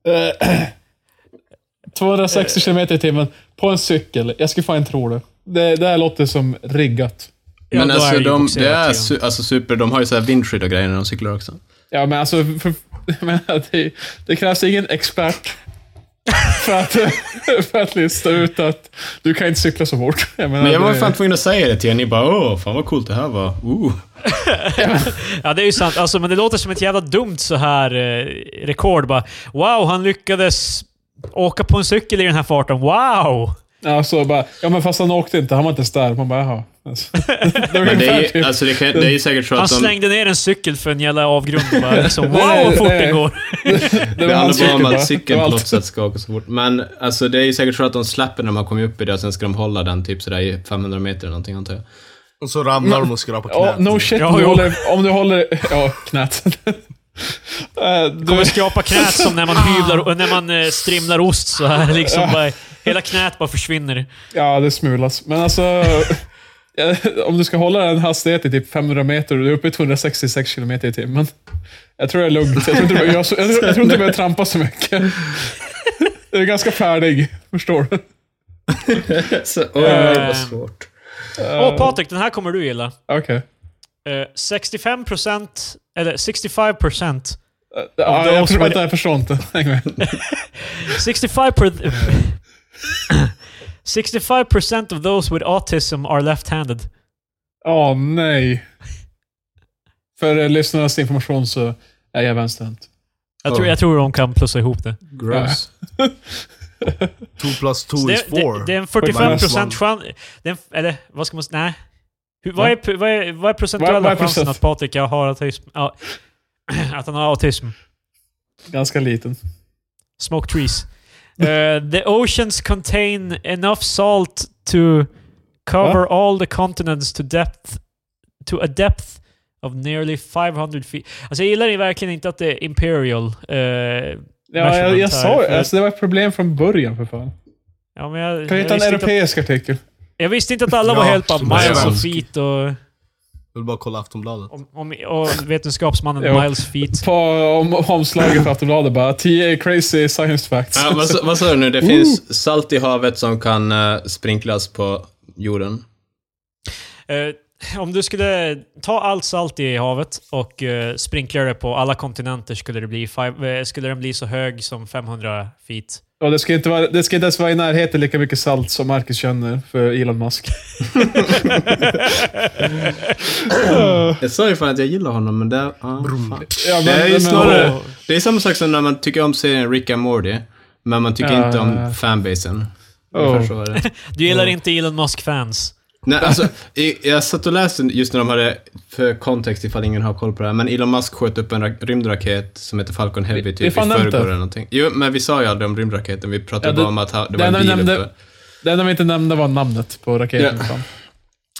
A: Eh, 260 km i timmen på en cykel. Jag skulle fan tro det. Det, det här låter som riggat.
D: Ja,
C: Men
D: då
C: alltså,
D: ju
C: de, det
D: boxerat
C: är
D: igen.
C: su- alltså super, de har ju så här vindskydd och grejer när de cyklar också.
A: Ja, men alltså... För, jag menar, det, det krävs ingen expert för att, för att lista ut att du kan inte cykla så fort. Jag menar,
C: Men jag var
A: det-
C: fan tvungen att säga det till er, ni bara åh, fan vad coolt det här var. Uh. Ooh.
D: Ja, det är ju sant. Alltså, men det låter som ett jävla dumt så här eh, rekord. Bara, wow, han lyckades åka på en cykel i den här farten. Wow!
A: Ja, så bara, ja, men fast han åkte inte. Han var inte ens där. Man bara, jaha. Alltså, det var
C: Men det
A: ungefär
C: är ju
A: typ-
C: alltså, det kan, det är ju säkert så
D: Han
C: att de...
D: slängde ner en cykel för en jävla avgrund. Bara, liksom, wow,
A: Nej,
D: vad fort
A: nej.
D: det går!
A: det
C: Det
A: var hans
C: handlar bara
A: cykel
C: om att cykeln
A: Det var
C: på
A: allt.
C: något sätt ska åka så fort. Men alltså, det är ju säkert så att de släpper när man kommer upp i det och sen ska de hålla den typ sådär i 500 meter eller någonting antar jag.
B: Och så ramlar de och skrapar
A: Ja,
B: knät.
A: no shit.
D: Ja,
A: om du
D: jo.
A: håller, om du håller... Ja, knät. Eh,
D: Kommer
A: du,
D: skrapa knät som när man hyvlar och när man eh, strimlar ost så här. Liksom, bara, hela knät bara försvinner.
A: ja, det smulas. Men alltså... eh, Om du ska hålla den hastigheten i typ 500 meter och du är uppe i 266 km i timmen. Jag tror det är lugnt. Jag tror inte du, jag, jag, tror- jag tror inte du behöver trampa så mycket. Du är ganska färdig, förstår du?
C: Så, åh,
D: Eh.
C: vad svårt.
D: Åh Patrik, den här kommer du gilla.
A: Eh, Okej.
D: Eh, 65% eller 65%
A: Ja,
D: det
A: jag,
D: också
A: tror,
D: var
A: vänta, jag förstår inte. Häng med.
D: 65 per- 65% of those with autism are left-handed.
A: Åh nej. För eh, lyssnarnas information så är jag vänsterhänt.
D: Jag tror, jag tror de kan plussa ihop det.
C: Gross.
B: Two plus two
D: Så
B: is
D: det,
B: four.
D: det, det är en
B: Minus
D: 45%
B: one.
D: chans... det är en- Eller vad ska man säga? Nej. Hur, vad, är, pu- vad, är, vad är procentuella
A: Vad- vad är
D: chansen
A: procent?
D: att Patrik har autism? Ja, att han har autism?
A: Ganska liten.
D: Smoke trees. Eh, the oceans contain enough salt to cover all the continents to depth to a depth of nearly 500 feet. Alltså jag gillar ju verkligen inte att det är imperial. eh,
A: Ja, jag,
D: measurement
A: jag
D: här,
A: sa ju
D: för-
A: alltså, det. var ett problem från början för fan.
D: ja, men jag,
A: Kan vi
D: jag
A: hitta en
D: visste inte att,
A: europeisk artikel?
D: jag visste inte att alla var
B: Ja,
D: helt bara
B: som är
D: miles och
B: svensk.
D: feet och,
B: Jag vill bara kolla Aftonbladet.
D: om- om, och vetenskapsmannen
A: Jo.
D: miles feet.
A: På om, omslaget på Aftonbladet bara 10 crazy science facts.
C: Ja, vad, sa- vad sa du nu? Det finns salt i havet som kan eh, sprinklas på jorden.
D: Eh, om du skulle ta allt salt i havet och eh, sprinkla det på alla kontinenter skulle, det bli five, eh, skulle den bli så hög som 500 feet.
A: Och det ska, inte vara, det ska inte ens vara i närheten lika mycket salt som Marcus känner för Elon Musk.
C: Jag sa ju fan att jag gillar honom, men det... Ah, fan.
A: Ja,
C: Det är ju
A: men-
C: snarare... Det är samma sak som när man tycker om serien Rick and Morty, men man tycker
A: Ja,
C: inte om
A: ja, ja.
C: fanbasen.
A: Oh.
C: Ungefär så är det.
D: Du gillar inte Elon Musk-fans.
C: Nej, alltså, i- jag satt och läste just när de hade, för kontext ifall ingen har koll på det här, men Elon Musk sköt upp en ra- rymdraket som heter Falcon Heavy
A: vi
C: typ i
A: fan nämnt
C: förrgår
A: det.
C: eller någonting. Jo, men vi sa ju aldrig om rymdraketen, vi pratade
A: Ja, det-
C: bara om att ha- det var
A: det
C: en
A: enda
C: bil
A: vi nämnde,
C: uppe.
A: det enda vi inte nämnde var namnet på raketen.
C: Ja.
A: fan.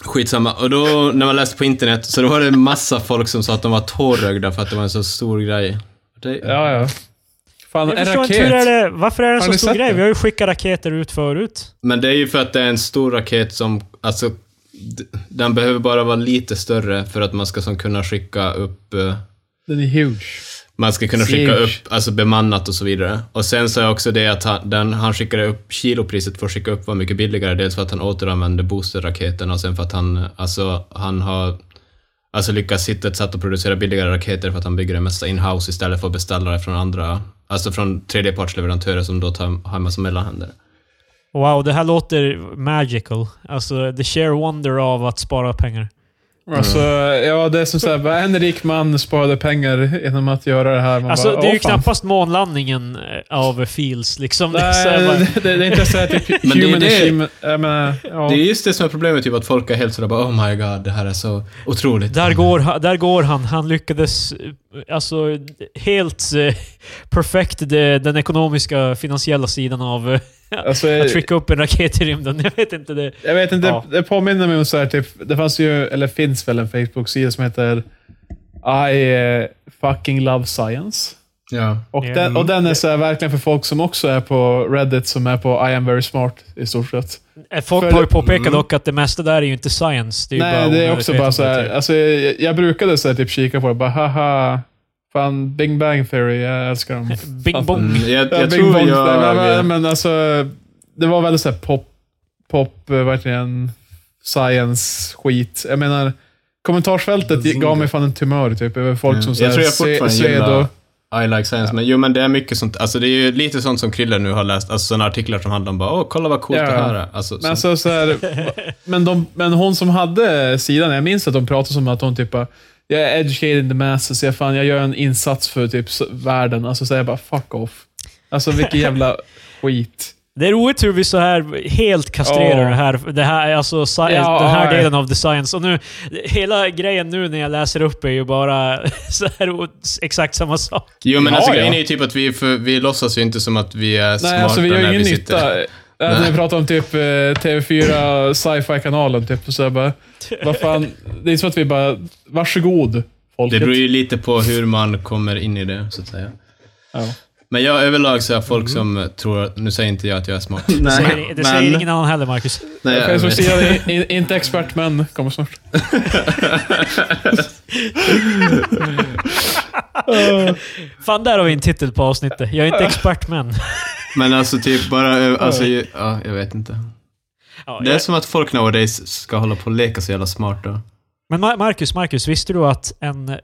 C: Skitsamma. Och då, när man läste på internet, så då var det massa folk som sa att de var tårögda för att det var en så stor grej. Det,
A: Ja, ja. Fan,
D: Jag
A: en
D: förstår inte hur är
A: raket.
D: det, varför är det en
A: Har
D: så
A: ni
D: stor
A: sett
D: grej?
A: det?
D: Vi har ju skickat raketer ut förut.
C: Men det är ju för att det är en stor raket som, alltså, d- den behöver bara vara lite större för att man ska som kunna skicka upp, eh,
A: Den är huge.
C: man ska kunna skicka upp,
A: Huge.
C: alltså bemannat och så vidare. Och sen så är också det att han, den, han skickade upp, kilopriset för att skicka upp var mycket billigare, dels för att han återanvände boosterraketen och sen för att han, alltså, han har Alltså lyckats hitta ett sätt att producera billigare raketer för att han bygger det mesta in-house istället för att beställa det från andra, alltså från tredjepartsleverantörer som då tar, har en massa mellanhänder.
D: Wow, det här låter magical. Alltså, the sheer wonder av att spara pengar.
A: Alltså,
C: Mm.
A: ja, det är som såhär, bara en rik man sparade pengar genom att göra det här. Man
D: Alltså,
A: bara,
D: det är ju
A: "Åh, fan."
D: knappast månlandningen eh, av Fields liksom. Det är så här bara,
A: Nej, det, det, det är inte såhär typ
C: Men det är
A: human
C: det-
A: achievement. Jag menar, ja.
C: Det är just det som är problemet, typ att folk är helt sådär bara oh my god, det här är så otroligt.
D: Där går, ha- där går han. Han lyckades eh, alltså, helt eh, perfekt de, den ekonomiska, finansiella sidan av eh,
A: Alltså,
D: att trycka upp en raket i rymden. Jag vet inte. Det.
A: Jag vet inte,
D: Ja.
A: det påminner mig om så här, typ, det fanns ju, eller finns väl en Facebook-sida som heter I eh, fucking love science.
C: Ja.
A: Och,
D: Mm.
A: den, och den är så här, verkligen för folk som också är på Reddit, som är på I am very smart i stort sett.
D: Eh, Folk
A: För-
D: har ju påpekat
B: Mm.
D: dock att det mesta där är ju inte science. Det är ju bara
A: Nej, det är
D: onödigt
A: också bara så här,
D: vetande.
A: alltså, jag, jag brukade så här, typ kika på det bara haha, fan Bing Bang Theory, jag älskar dem.
D: Bing bong.
C: Mm, jag
A: Ja,
C: jag
A: Bing
C: tror
A: Bang,
C: jag...
A: nej, men, men alltså, det var väldigt så här pop, pop, eh, verkligen science-skit. Jag menar, kommentarsfältet
B: Zynga.
A: gav mig fan en tumör typ, över folk som
C: jag tror jag
A: säger
C: fortfarande
A: Svedo.
C: gillar I like science, men jo men det är mycket sånt, alltså det är ju lite sånt som Krille nu har läst, alltså sådana artiklar som handlar om bara åh, kolla vad coolt
A: Ja.
C: det här är. Alltså,
A: Men,
C: sånt.
A: alltså, så här, va- men, de, men hon som hade sidan, jag minns att de pratade som att hon typ bara, jag är educated in the masses, jag, fan, jag gör en insats för typ s- världen. Alltså så här, jag bara fuck off. Alltså vilken jävla skit.
D: Det är roligt hur vi så här helt kastrerar
A: Ja.
D: det här, det här alltså, sci-
A: Ja,
D: den här
A: ja.
D: delen av the science. Och nu, hela grejen nu när jag läser upp är ju bara så här, o- exakt samma sak.
C: jo men
A: Ja,
C: alltså
A: ja.
C: grejen är ju typ att vi, för, vi låtsas ju inte som att vi är smarta
A: Nej, alltså vi gör
C: när
A: ju ingen
C: vi sitter.
A: nytta. Äh, när vi pratar om typ eh, TV4 sci-fi-kanalen, typ, så jag bara, vad fan, det är som att vi bara, varsågod
C: Det
A: folket.
C: beror ju lite på hur man kommer in i det, så att säga.
A: Ja. Men
C: Men jag överlag så är folk
A: Mm.
C: som tror, att- nu säger inte jag att jag är smart. Nej,
D: Säger, det säger ingen annan heller, Marcus.
C: Nej, jag vet.
A: Facebook-sidan är in- inte expert, men kommer snart.
D: Fan, där har vi en titel på avsnittet. Jag är inte expert, men...
C: Men alltså typ bara, ö- alltså, ju- ja, jag vet inte.
D: Ja,
C: Det är som att folk nowadays ska hålla på och leka så jävla smarta.
D: Men Ma- Marcus, Marcus, visste du att en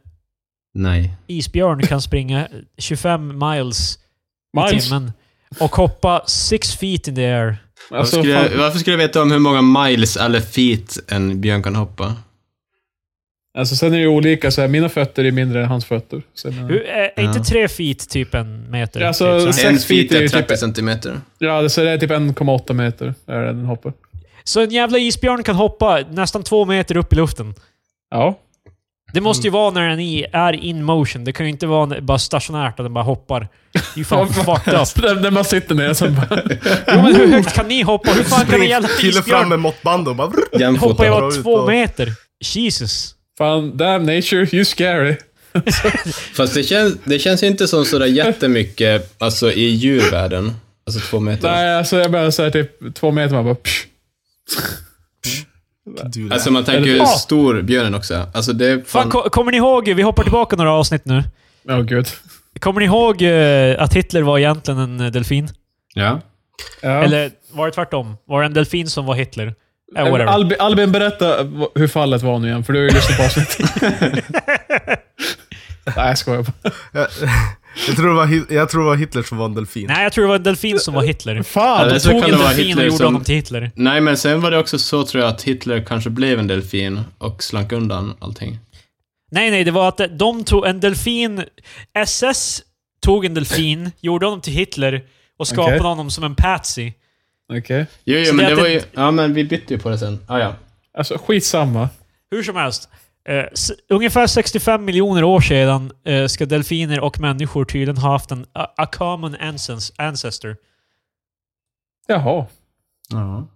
C: Nej.
D: isbjörn kan springa 25 miles, i
A: Miles.
D: timmen och hoppa 6 feet in the air?
A: Alltså,
C: varför, skulle jag,
A: fan,
C: varför skulle jag veta om hur många miles eller feet en björn kan hoppa?
A: alltså, sen är det ju olika, så här, mina fötter är mindre än hans fötter. eh, Så, jag menar-
D: Hur, eh, är är inte
C: Ja.
D: 3 feet typ en meter?
A: Ja, alltså,
D: Typ så här.
A: Sex
C: en
A: feet
C: feet
A: är ju
C: är
A: typ-
C: 30 centimeter.
A: ja, det- så det är typ 1,8 meter, är det den hoppar.
D: Så en jävla isbjörn kan hoppa nästan två meter upp i luften.
A: Ja.
D: Det måste ju vara när den i- är in motion. Det kan ju inte vara när- bara stationärt att den bara hoppar. Det är ju fan fucked up.
A: När när man sitter ner så bara...
D: Jo, men hur högt kan ni hoppa? Hur fan kan en jävla
B: Killen fram
D: isbjörn
B: med måttband och bara...
D: hoppa
C: Jämfota.
D: i
B: dra
D: bara
B: ut
D: två
B: och-
D: meter? Jesus.
A: Fan, damn nature, you scary.
C: Fast det känns, det känns ju inte som sådär jättemycket, alltså i djurvärlden. Alltså två meter.
A: Nej, alltså jag bara såhär typ två meter, man bara... Psh.
B: Du,
C: Alltså man tänker ju hur stor björnen också är. Alltså det är
D: Fan,
C: fan...
D: ko- kommer ni ihåg? Vi hoppar tillbaka några avsnitt nu.
A: Åh gud.
D: Kommer ni ihåg eh, att Hitler var egentligen en eh, delfin?
C: Ja.
A: Ja.
D: Eller var det tvärtom? Var det en delfin som var Hitler? Eh, whatever.
A: Albin, Albin, berätta v- hur fallet var nu igen, för du har ju lyssnat på avsnittet. Nej, jag skojar bara.
B: jag, jag, tror det var, Hit- jag tror det var Hitler som var en delfin.
D: Nej, jag tror det var en delfin som var Hitler.
A: Fan!
C: Eller
D: De
C: så
D: tog
C: kan
D: en
C: det vara
D: delfin och
C: Hitler
D: gjorde
C: som...
D: honom till Hitler.
C: Nej, men sen var det också så tror jag att Hitler kanske blev en delfin och slank undan allting.
D: Nej, nej, det var att eh, de tog en delfin... SS tog en delfin, gjorde honom till Hitler och skapade
A: Okej.
D: honom som en patsy.
A: Okej.
C: Jo,
D: Så
C: jo,
D: det
C: men
D: är
C: det
D: att
C: var
D: det-
C: ju... Ja, men vi bytte ju på det sen. Ah, ja.
A: Alltså, skitsamma.
D: Hur som helst. Eh, s- ungefär 65 miljoner år sedan eh, ska delfiner och människor tydligen ha haft en a, a common ancens- ancestor.
A: Jaha.
C: ja.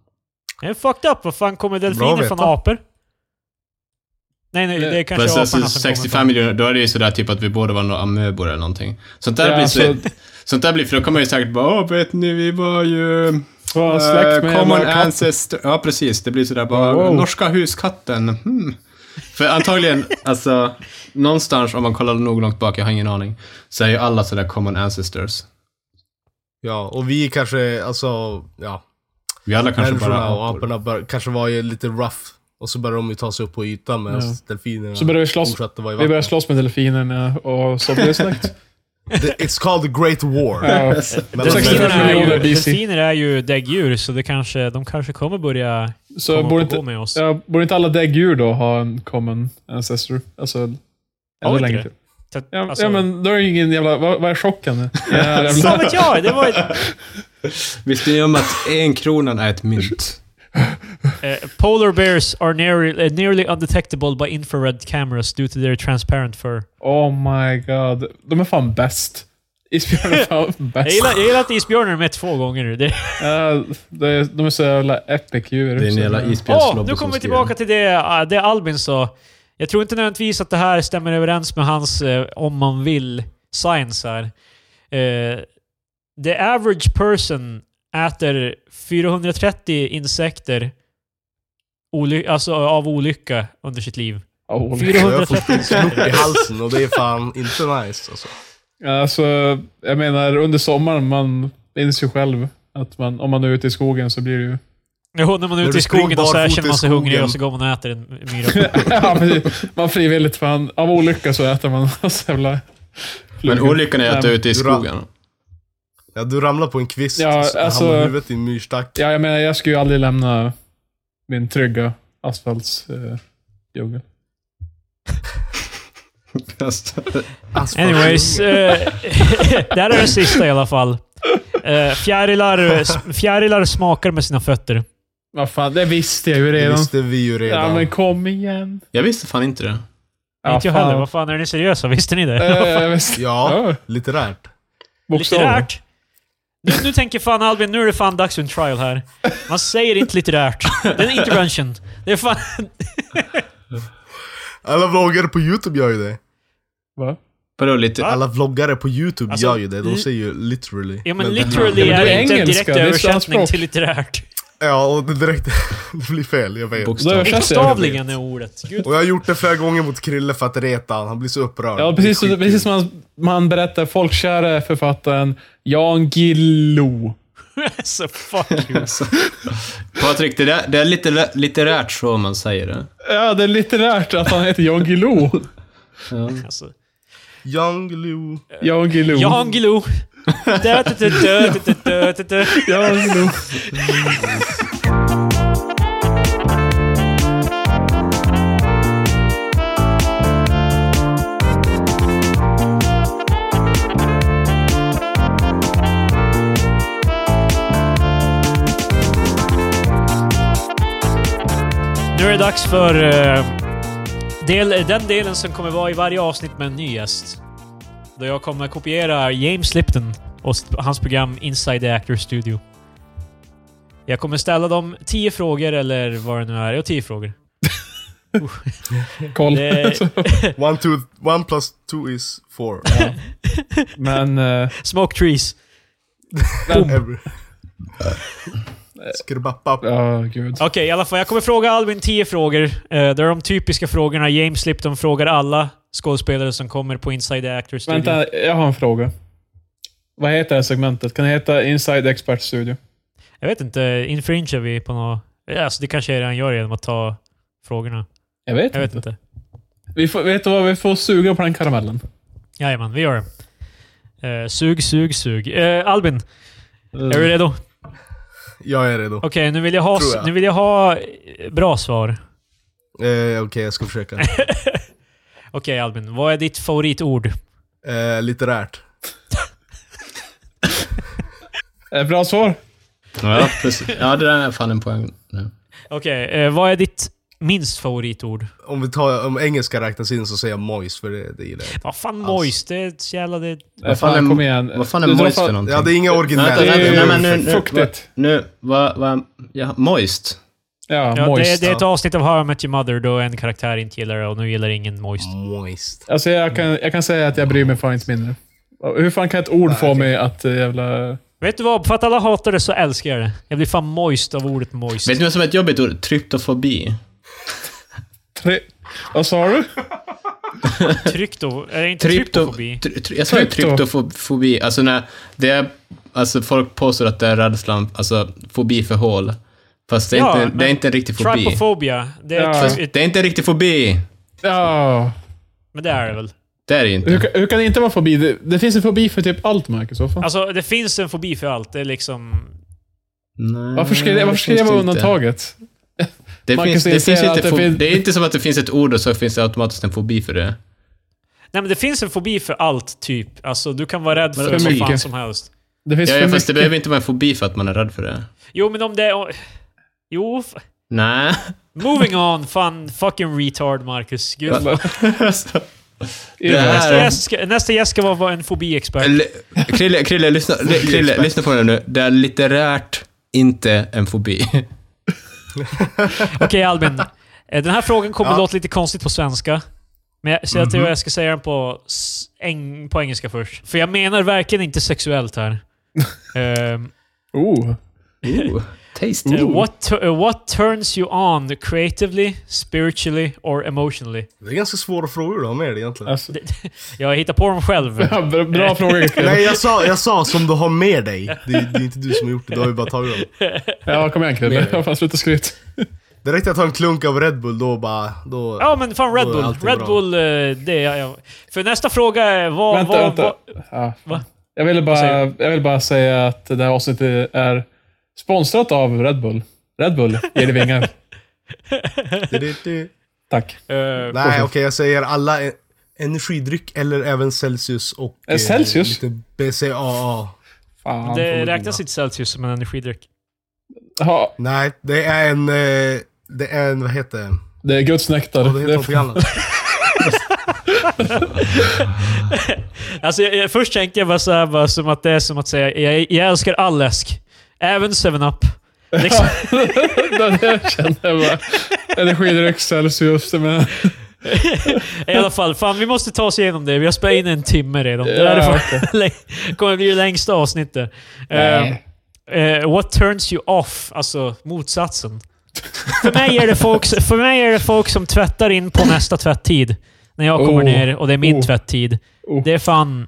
D: Det är fucked up. Vad fan kommer delfiner
B: veta.
D: från apor? Nej, nej, det är kanske
C: Fast alltså,
D: aporna som kommer.
C: 65 miljoner, då är det ju sådär typ att vi borde vara några amöbor eller någonting. Sånt där
A: Ja,
C: blir så,
A: alltså-
C: Sånt där blir, för då kommer man ju säkert bara åh, vet ni, vi var ju...
A: Var
C: eh,
A: släkt med
C: common
A: jävla katt."
C: ancestor. Ja, precis. Det blir sådär bara,
A: Wow.
C: norska huskatten. Hmm. För antagligen, alltså, någonstans om man kollar nog långt bak, jag har ingen aning, så är ju alla sådär common ancestors.
B: Ja, och vi kanske, alltså, ja.
C: Vi alla kanske bara
B: Människorna och
C: apor.
B: aporna bör, kanske var ju lite rough. Och så började de ju ta sig upp på ytan medan
A: Ja.
B: delfinerna
A: Så började vi slåss.
B: fortsatte vara i
A: Vi började
B: vattnet.
A: slåss med delfinerna och så blev det släkt.
B: The- It's called the great war.
A: Ja.
B: Mellan
D: Delfiner
A: Sextiofem
D: är, ju,
A: miljoner BC.
D: delfiner är ju däggdjur, så det kanske, de kanske kommer börja
A: Så
D: komma
A: borde
D: borde gå
A: inte,
D: med oss.
A: ja, borde inte alla däggdjur då ha en common ancestor? Alltså, ännu
D: inte
A: längre
D: det?
A: till.
D: Så att-
A: Ja,
D: alltså,
A: ja, men då är det ju ingen jävla... Vad, vad är chocken? nu? Ja, jävla-
D: Fan vet jag! Det var ett,
C: Visste ni om att en kronan är ett mynt?
D: eh, polar bears are nearly, eh, nearly undetectable by infrared cameras due to their transparent fur.
A: Oh my god. De är fan bäst. Isbjörn är fan
D: Jag
A: bäst.
D: gillar, jag gillar att isbjörnen är med två gånger nu. Det-
A: Ja, Eh, det är- de är så jävla epic djur.
C: Det är en
A: också.
C: jävla
D: Åh,
C: isbjörnslobby
D: nu
C: som
D: kommer vi
C: styr.
D: tillbaka till det, eh, det Albin sa. Jag tror inte nödvändigtvis att det här stämmer överens med hans eh, om man vill science här. Eh, the average person äter 430 insekter oly- alltså av olycka under sitt liv.
A: Oh,
B: Jag får
D: 430
B: snopp i
D: insekter.
B: halsen och det är fan inte nice alltså.
A: Alltså, jag menar under sommaren, man minns ju själv att man, om man är ute i skogen så blir det ju...
D: Jo, när man är
B: När
D: ute
B: du
D: i skogen
B: springer
D: och så här
B: barfota
D: känner
B: i
D: man sig hungrig
B: skogen.
D: och så går man och äter en myra.
A: ja, precis. man frivilligt fan. Av olycka så äter man så jävla...
C: Men
A: flugor.
C: olyckan är att du är ute i skogen.
B: Ja, du ramlar på en kvist
A: Ja,
B: och
A: alltså-
B: hamnar huvudet i en myrstack.
A: Ja, jag menar, jag skulle ju aldrig lämna min trygga asfaltsdjungel. Eh, djungel.
D: Anyways, eh, det här är det sista i alla fall. Eh, fjärilar, fjärilar smakar med sina fötter.
A: Vad fan, det visste jag ju
B: Det
A: redan.
B: visste vi ju redan.
A: Ja, men kom igen.
C: Jag visste fan inte det.
A: Ja,
D: inte jag
A: fan.
D: heller. Vad fan, är ni seriösa? Visste ni det?
A: Eh, jag visste.
B: Ja, litterärt.
A: bokstavligen.
D: Litterärt? Nu, nu tänker fan Albin, nu är det fan dags för en trial här. Man säger inte litterärt. Det är en intervention. Det är fan...
B: Alla vloggare på youtube gör ju det.
A: Va?
C: Vadå lite?
B: Alla vloggare på youtube
D: Alltså,
B: gör ju det.
D: li-
B: De säger ju literally.
D: Ja, men
A: Ja,
D: literally
A: men
D: är
A: det är
D: inte en direkt
A: engelska, det är
D: översättning
A: svenskspråk.
D: till litterärt.
B: Ja, och det direkt... det blir fel, jag vet.
A: Då
C: Bokstav.
A: översätter jag.
D: Bokstavligen är ordet. Gud.
B: Och jag har gjort det flera gånger mot Krille för att reta han. Han blir så upprörd.
A: Ja, precis,
B: Det är
A: precis som man, man berättar. Folkkäre författaren Jan Gillo.
D: Så fuck you.
C: Patrik, det, där, det är lite litterärt så man säger det.
A: Ja, det är litterärt att han heter Jan Gillo.
D: Alltså.
B: Young Lou.
A: Jan Gillo.
D: Jan Guillou. Dö, dö, dö, dö, dö, dö, dö, dö.
A: Jan Gillo.
D: Nu är det dags för eh, del, den delen som kommer vara i varje avsnitt med en ny gäst. Då jag kommer kopiera James Lipton och st- hans program Inside the Actors Studio. Jag kommer ställa dem 10 frågor eller vad det nu är. Ja, 10 frågor.
A: Koll.
D: Det-
B: One, two, one plus two is four.
A: Men... eh,
D: Smoke trees.
B: Every... Skrubbapp.
A: Ja, gud.
D: Okej, i alla fall. Jag kommer fråga Albin 10 frågor. Uh, det är de typiska frågorna James Lipton frågar alla skådespelare som kommer på Inside the Actors Studio.
A: Vänta, jag har en fråga. Vad heter det här segmentet? Kan det heta Inside Expert Studio?
D: Jag vet inte, infringer vi på något... Ja, Alltså, det kanske jag redan gör genom att ta frågorna.
A: Jag vet,
D: Jag vet
A: inte.
D: inte.
A: Vi får, vet du vad? Vi får suga på den karamellen.
D: Jajamän, vi gör det. Eh, sug, sug, sug. Eh, Albin, är du redo? Okej,
B: Jag är redo.
D: nu vill jag ha,
B: Tror jag.
D: nu vill jag ha eh, bra svar.
B: Eh, Okej, jag ska försöka.
D: Okej Albin, vad är ditt favoritord?
B: Eh, litterärt.
A: Eh, Bra svar.
C: Ja, precis. Ja, det där är fan en poäng. Ja.
D: Okej, eh, vad är ditt minst favoritord?
B: Om, vi tar, om engelska räknas in så säger jag mojs, för det, det gillar jag.
D: Vad fan mojs? Det är så jävla... Det...
A: Eh,
C: Vad fan är,
A: kom igen.
C: Vad fan är
A: Du drar
C: moist
A: fan-
C: för någonting?
B: Ja, det är inga
C: Vänta,
B: originella.
A: Det
C: vänta,
A: är ju
C: nej, men nu, nu,
A: fuktigt.
C: Nu, vad, vad, ja, moist.
A: Ja,
D: Ja, det,
A: moist.
D: det är ett avsnitt av How I Met Your Mother då en karaktär inte gillar det och nu gillar ingen Moist.
B: Mm. Moist.
A: Alltså jag kan, jag kan säga att jag bryr mig fan inte mindre. Hur fan kan ett ord få mig att eh, jävla...
D: Vet du vad? För att alla hatar det så älskar jag det. Jag blir fan Moist av ordet Moist.
C: Vet ni vad som är ett jobbigt ord? Tryptofobi.
A: Tre... Vad sa du?
D: Trypto... Är det inte
C: Trypto,
D: tryptofobi?
C: try- try- jag sa ju
A: Trypto.
C: tryptofobi. Alltså när det är, alltså folk påstår att det är rädslan, alltså fobi för hål. Fast det är,
D: Ja,
C: inte, det är
D: men-
C: inte en riktig fobi.
D: Trypophobia. Det är
A: Ja.
D: try-
C: Det är inte en riktig fobi.
A: Ja.
D: Men det är det väl?
C: Det är det ju inte.
A: Hur, kan- hur kan det inte vara fobi? Det, det finns en fobi för typ allt, Marcus. Vad fan?
D: Alltså, det finns en fobi för allt. Det är liksom...
C: Nej,
A: varför ska det, varför ska Mm, det
C: finns
A: vara
C: inte.
A: undantaget?
C: Det,
A: Man
C: finns,
A: kan
C: det,
A: se
C: finns
A: att
C: inte
A: det
C: fo-
A: finns-
C: det är inte som att det finns ett ord och så finns det automatiskt en fobi för det.
D: Nej men det finns en fobi för allt, typ. Alltså, du kan vara rädd för
A: för
D: vad fan
A: mycket.
D: som helst.
A: Det finns
C: Ja,
A: för
C: ja, fast det
A: mycket.
C: behöver inte vara en fobi för att man är rädd för det.
D: Jo, men om det... är- Jo... f-
C: Nej.
D: Moving on, fan fucking retard, Marcus. Gud.
C: Alltså,
A: I det här.
D: Nästa gäst ska, nästa gäst ska vara- vara en fobiexpert.
C: L- Krille, Krille, lyssna, li- Krille, lyssna på det nu. Det är litterärt inte en fobi.
D: Okej Albin, Eh, den här frågan kommer
B: Ja.
D: låta lite konstigt på svenska. Men jag, så jag tror jag ska säga den på, s- eng, på engelska först. För jag menar verkligen inte sexuellt här. Ehm,
A: Oh.
C: Ooh, tasty.
D: eh, what, tu- eh, what turns you on creatively, spiritually or emotionally?
B: Det är ganska svåra frågor du har med dig egentligen.
A: Alltså,
D: Jag hittar på dem själv.
A: ja, bra, bra fråga, Krille.
B: Nej, jag sa, jag sa som du har med dig. Det, är- det är inte du som har gjort det, du har ju bara tagit dem.
A: Ja, kom igen Krille. Ja, fan, sluta skryt.
B: Direkt jag tar en klunk av Red Bull, då bara... Då,
D: Ja men fan Red
B: Då är
D: Bull.
B: allting
D: Red
B: bra.
D: Bull, eh, det är jag. För nästa fråga är vad...
A: Vänta,
D: vad,
A: vänta.
D: vad
A: Ja.
D: Va?
A: Jag ville bara,
D: säger
A: jag vill bara säga att det här avsnittet är sponsrat av Red Bull. Red Bull ger dig vingar.
B: Du, du, du.
A: Tack.
D: eh,
B: Nej, okej, jag säger alla e- energidryck eller även Celsius och...
A: Eh, Celsius?
B: lite BCAA.
A: Fan.
D: det räknas inte Celsius som en energidryck.
A: Ha,
B: Nej, det är en... eh, Det är en, vad heter det?
A: det är Guds nektar.
B: Ja, det heter någonting annat.
D: Alltså, jag, jag, först tänkte jag bara, så här, bara som att det är som att säga jag, jag älskar all läsk. Även 7-Up. Liksom,
A: det jag känner jag bara. Energidryck, Celsius. jag menar.
D: I alla fall, fan vi måste ta oss igenom det. Vi har spelat in en timme redan. Det här är
A: Ja,
D: fan, kommer bli det längsta avsnittet.
A: Nej.
D: Eh, eh, what turns you off? Alltså motsatsen. för, mig är det folk, för mig är det folk som tvättar in på nästa tvätttid. När jag kommer
A: Oh.
D: ner och det är min
A: Oh.
D: tvätttid.
A: Oh.
D: Det är fan...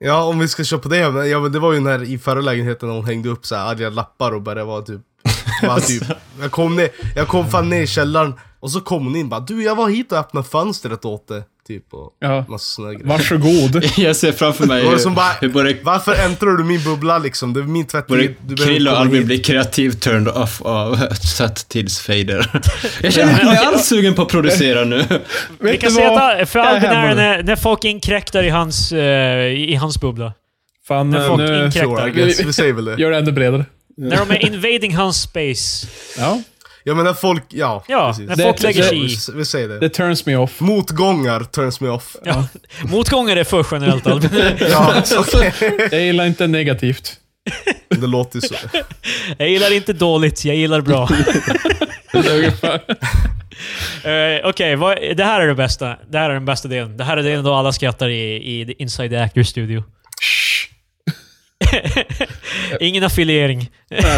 B: Ja, om vi ska köpa det. men- Ja, men det var ju när i förra lägenheten när hon hängde upp så här arga lappar och började vara typ... Bara typ jag, kom ner, jag kom fan ner i källaren och så kom hon in bara Du, jag var hit och öppnade fönstret åt dig. Typ och
A: Ja.
B: massa såna grejer.
A: Varsågod.
C: Jag ser framför mig
B: Var det som
C: hur,
B: bara,
C: hur både,
B: Varför äntrar du min bubbla liksom? Det är min
C: både
B: tvättid. Du behöver
C: Krill och
B: komma
C: Albin
B: hit.
C: blir kreativt turned off av satt tills fader. Jag känner mig inte alls sugen på att producera nu.
A: Vet
D: Vi kan
A: du
D: säga
A: vad?
D: att för
A: Jag är
D: Albin
A: hemma
D: är det
A: nu.
D: när, när folk inkräktar i hans, eh, i i hans bubbla.
A: Fan, eh,
D: När folk
A: nu
B: Sure, I
D: inkräktar.
B: guess. Vi säger väl det.
A: gör det ännu bredare.
D: När de är invading hans space.
A: Ja.
B: Ja men när folk, ja.
D: Ja,
B: precis.
D: när
A: Det-
D: folk
A: det-
D: lägger sig i.
B: Vi, vi säger det.
A: Det turns me off.
B: Motgångar turns me off.
D: Ja. Motgångar är för generellt Albin.
B: Ja, okej.
A: Jag gillar inte negativt.
B: Det låter ju så.
D: Jag gillar inte dåligt, jag gillar bra.
A: Det är ungefär-
D: Eh, Okej, vad- det här är det bästa. Det här är den bästa delen. Det här är delen då alla skrattar i, i the Inside the Actors Studio. Ingen affiliering. Eh,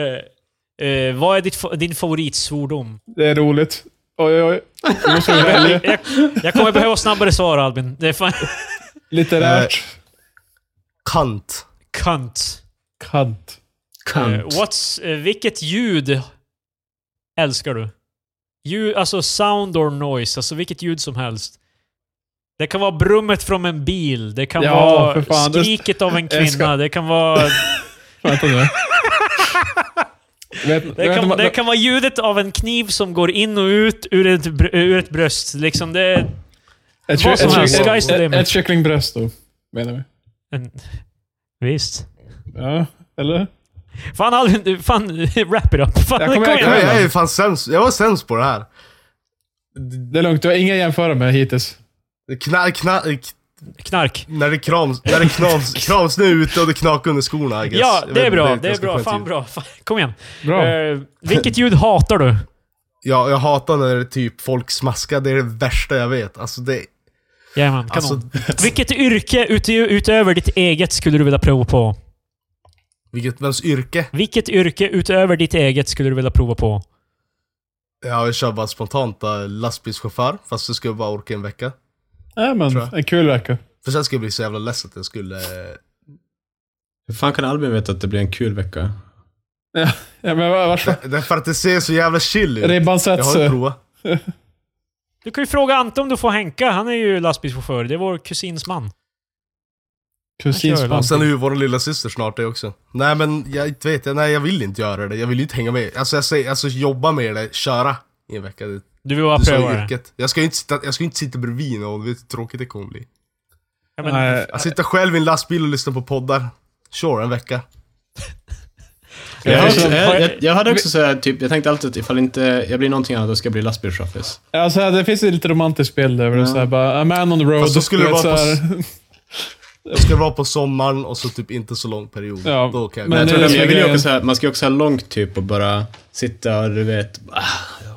D: eh, vad är ditt, fa- din favoritsvordom?
A: Det är roligt. Oj, oj, oj. Nu måste vi välja.
D: Jag, jag kommer behöva snabbare svar Albin. Det är fan...
A: Litterärt.
B: Kant.
D: Cunt.
A: Kant.
D: Eh, what's, eh, vilket ljud älskar du? Ljud, alltså sound or noise, alltså vilket ljud som helst. Det kan vara brummet från en bil, det kan
A: Ja, för
D: vara
A: fan, det-
D: skriket av en
A: jag
D: kvinna,
A: ska-
D: det kan vara...
A: Vänta nu. Vet,
D: Det
A: vet,
D: kan,
A: vad-
D: det kan vara ljudet av en kniv som går in och ut ur ett, br- ur ett bröst. Liksom det...
A: Ett,
D: Vad som
A: ett-
D: helst.
A: ett-
D: Sky's the
A: ett-
D: limit.
A: ett kycklingbröst då, menar vi.
D: En, visst.
A: Ja, eller?
D: Fan Albin, du- fan wrap it up. Fan,
A: Jag kommer-
D: kom
A: jag
D: igen.
B: Jag, jag är fan sämst. Jag var sämst på det här.
A: Det är lugnt, du har inga att jämföra med hittills.
B: Knall, knall,
D: Knark.
B: När det krams, när det knams, krams nu ute och det knakar under skorna I guess.
D: Ja,
B: Jag
D: det är
B: vet,
D: bra.
B: ett
D: Det är
B: ganska
D: bra.
B: skönt
D: Fan
B: ljud.
D: bra. Fan, kom igen.
A: Bra.
D: Eh, vilket ljud hatar du?
B: Ja, jag hatar när typ folk smaskar, det är det värsta jag vet. Alltså det...
D: Jajamän, kanon.
B: Alltså,
D: Vilket yrke utö- utöver ditt eget skulle du vilja prova på?
B: vilket, vems yrke?
D: Vilket yrke utöver ditt eget skulle du vilja prova på?
B: Ja, jag kör bara spontant äh, lastbilschaufför, fast det skulle bara orka en vecka.
A: Ja, men,
B: Tror jag.
A: en kul vecka.
B: För sen skulle jag bli så jävla less att jag skulle... eh,
C: Hur fan kan Albin veta att det blir en kul vecka?
A: Ja, ja, men var- varsågod.
B: Det är för att det ser så jävla chill ut.
A: Ribban
B: Jag
A: sätts.
B: har ju provat.
D: Du kan ju fråga Ante om du får Henka. Han är ju lastbilschaufför. Det är vår kusins man.
A: Kusins
D: Jag kör
A: man.
B: Och sen är ju vår lilla syster snart det också. Nej men jag inte vet, jag- nej jag vill inte göra det. Jag vill ju inte hänga med. Alltså jag säger, alltså jobba med det, köra i en vecka. Det,
D: Du vill bara
B: du sa
D: pröva
B: ju
D: det?
B: yrket. Jag ska ju inte sitta, jag ska ju inte sitta bredvid någon, vet du hur tråkigt det kommer bli.
D: Ja, men,
A: Nej,
B: Att sitta själv i en lastbil och lyssna på poddar. Sure, en vecka.
A: Jag
C: Jag,
A: har-
C: jag, jag, jag hade också såhär, typ, jag tänkte alltid att ifall inte jag blir någonting annat, då ska jag bli lastbilschaffis.
A: Alltså, det finns ju lite romantisk bild över det. Så här, bara, a man on the road.
B: Fast då skulle
A: du
B: det
A: vet,
B: vara
A: så här.
B: Jag ska vara på sommaren och så typ inte så lång period.
A: Ja,
B: Då kan jag
A: men-
C: Men jag
A: det
C: tror
A: är
C: att
A: det
C: jag
A: som
C: vill
A: är
C: ju
A: grejen.
C: åka så här, man ska ju också ha långt typ och bara sitta och du vet... Ah, ja.